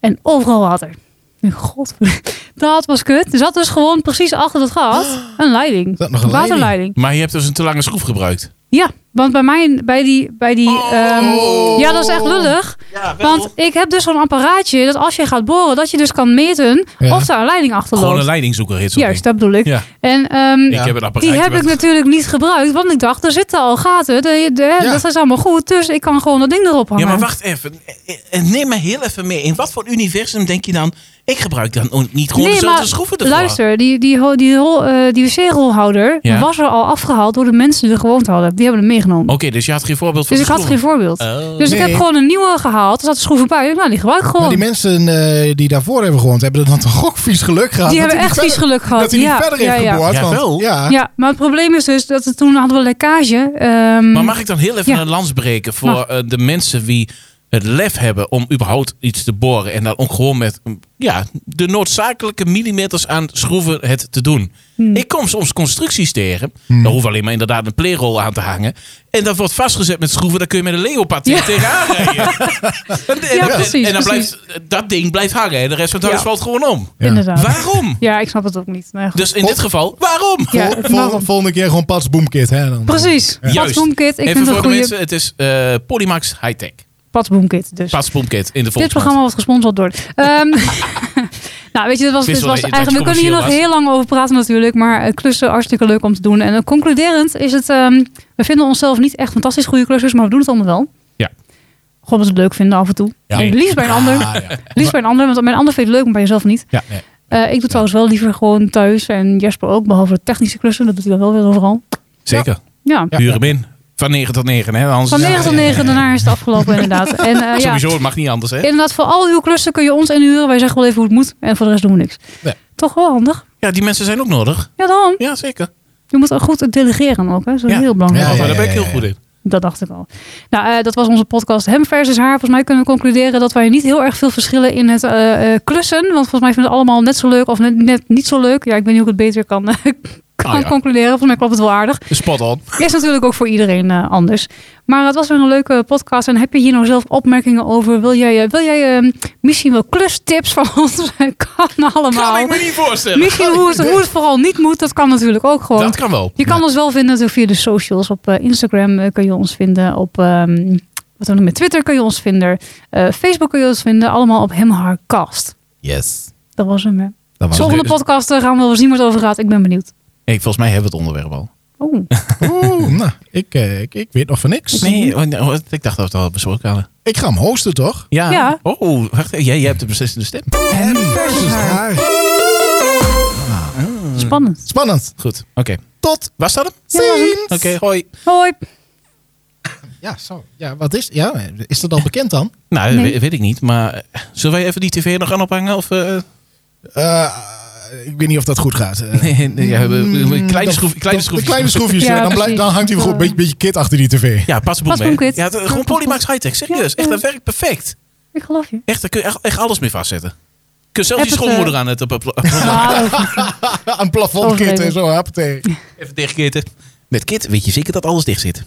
en overal water. Ik denk, God, dat was kut. Er zat dus gewoon precies achter het gat een leiding. Zat nog een waterleiding. Maar je hebt dus een te lange schroef gebruikt. Ja, Want bij mij, bij die, bij die ehm, ja, dat is echt lullig. Ja, Want ik heb dus zo'n apparaatje dat als je gaat boren, dat je dus kan meten Ja. of daar een leiding achter Gewoon een loopt. leiding zoeken. heet zo'n Juist, dat bedoel ik. ding. Ja, En ehm, ik heb een die apparaatje. heb ik met- natuurlijk niet gebruikt, want ik dacht, er zitten al gaten. De, de- Ja. Dat is allemaal goed, dus ik kan gewoon dat ding erop hangen. Ja, maar wacht even. Eh, eh, Neem me heel even mee. In wat voor universum denk je dan... Ik gebruik dan ook niet gewoon Nee, dezelfde maar schroeven ervoor. Luister, die, die, ho- die, rol, eh, die wc-rolhouder Ja. was er al afgehaald door de mensen die er gewoond hadden. Die hebben hem meegenomen. Oké, dus je had geen voorbeeld van Eh, Oh. dus ik had geen voorbeeld. geen... dus ik Nee. heb gewoon een nieuwe gehaald. Er zat een schroef bij. Ik dacht, Nou, die gebruik ik Maar gewoon. die Die, mensen eh, die daarvoor hebben gewoond, hebben er dan toch ook vies geluk gehad. dat hebben hij echt niet vies verder- geluk gehad. Dat hij ja, niet verder ja, heeft ja. geboord. Ja, want- wel. ja. Ja, maar het probleem is dus dat we toen hadden we lekkage. ehm, Maar mag ik dan heel even Ja. een lans breken voor Mag. eh, de mensen die het lef hebben om überhaupt iets te boren en dan ook gewoon met mm, ja, de noodzakelijke millimeters aan schroeven het te doen. Mhm. Ik kom soms constructies tegen, daar hoef alleen maar inderdaad een pleerrol aan te hangen en dat wordt vastgezet met schroeven, daar kun je met een leopard Ja. tegenaan rijden. en, en- Ja, en- precies, en precies. dan blijft, dat ding blijft hangen en de rest van het Ja. huis valt gewoon om. Ja. Inderdaad. Waarom? Ja, ik snap het ook niet. Nee, goed. Dus in dit geval, waarom? ja, Vol- waarom? vol- volgende keer gewoon Pats Boomkit. Hè, dan. Precies. Juist. Patsboomkit. Ik Even vind het voor een de goede mensen, het is eh, Polymax Hightech. Patsboomkit. Dus. Paspompkit in de Dit volgende. programma wordt gesponsord door. Ehm, nou, weet je, dat was, Wist dit wel was dat je- dat je eigenlijk. We kunnen hier nog commercieel heel lang over praten, natuurlijk. Maar eh, klussen, hartstikke leuk om te doen. En eh, concluderend is het. ehm, we vinden onszelf niet echt fantastisch goede klussers, maar we doen het allemaal wel. Ja. Gewoon dat we het leuk vinden af en toe. Ja. En liefst bij een ander. Ah, ja. Liefst bij een ander, want bij een ander vind je het leuk, maar bij jezelf niet. Ja, nee. Eh, ik doe trouwens wel liever gewoon thuis en Jasper ook, behalve de technische klussen. Dat doet hij dan wel weer overal. Zeker. Ja. Huur hem in. Van 9 tot 9, hè? Anders Van is het- 9 tot 9, daarna is het afgelopen, inderdaad. En eh, ja, Sowieso, het mag niet anders, hè? inderdaad, voor al uw klussen kun je ons inhuren. Wij zeggen wel even hoe het moet. En voor de rest doen we niks. Nee. Toch wel handig. Ja, die mensen zijn ook nodig. Ja, dan. Ja, zeker. Je moet ook goed delegeren ook. Hè? Dat is wel Ja. heel belangrijk. Ja, Oh, ja, daar ben ik ja, heel ja. goed in. Dat dacht ik al. Nou, eh, dat was onze podcast Hem versus Haar. Volgens mij kunnen we concluderen dat wij niet heel erg veel verschillen in het eh, eh, klussen. Want volgens mij vinden we het allemaal net zo leuk of net, net niet zo leuk. Ja, ik weet niet hoe ik het beter kan, eh, kan Ah, ja. concluderen. Volgens mij klopt het wel aardig. Spot on. Is natuurlijk ook voor iedereen eh, anders. Maar het was weer een leuke podcast. En heb je hier nou zelf opmerkingen over? Wil jij, eh, wil jij eh, misschien wel klustips van ons? kan Kan allemaal. ik me niet voorstellen. Misschien hoe het, hoe het vooral niet moet. Dat kan natuurlijk ook gewoon. Dat kan wel. Je kan ons wel vinden natuurlijk via de socials. Op eh, Instagram eh, kun je ons vinden. Op ehm, wat doen we met Twitter kun je ons vinden. Eh, Facebook kun je ons vinden. Allemaal op Hemharcast. Yes. Dat was hem. Hè. Dat was Volgende dus- podcast eh, gaan we wel zien waar het over gaat. Ik ben benieuwd. Hey, volgens mij hebben we het onderwerp al. Oh, het. Oeh, nou, ik, eh, ik, ik weet nog van niks. Nee, oh, nou, ik dacht dat we het al besproken hadden. Ik ga hem hosten, toch? Ja. Ja. Oh, wacht even. Jij, jij hebt de beslissende stem. En versus haar. spannend. Spannend. Goed. Oké. Tot Was dat hem? ziens. Oké, hoi. Hoi. Ja, zo. Ja, wat is... Ja, is dat al bekend dan? Nou, Nee. weet, weet ik niet. Maar eh, zullen wij even die tv nog gaan ophangen? Of, eh, Eh, ik weet niet of dat goed gaat. Eh, nee, nee, ja, we- we- we- kleine dat- schroef, Mm, kleine dat- schroefjes. Kleine schroefjes. Ja, eh, dan, blijft, dan precies. hangt hij een Eh. beetje, beetje kit achter die tv. Ja, pasboom. hè? Pasboomkit. Ja, het- gewoon Polymax Hightech. Serieus. Ja, Echt, ja. dat werkt perfect. Ik geloof je. Echt, daar kun je echt, echt alles mee vastzetten. Kun je zelfs Heb je het, eh, schoonmoeder aan het... Op, op, op- Ah, dat- Een plafond kit en Overdreven. zo. Happatee. even dichtkitten. Met kit weet je zeker dat alles dicht zit.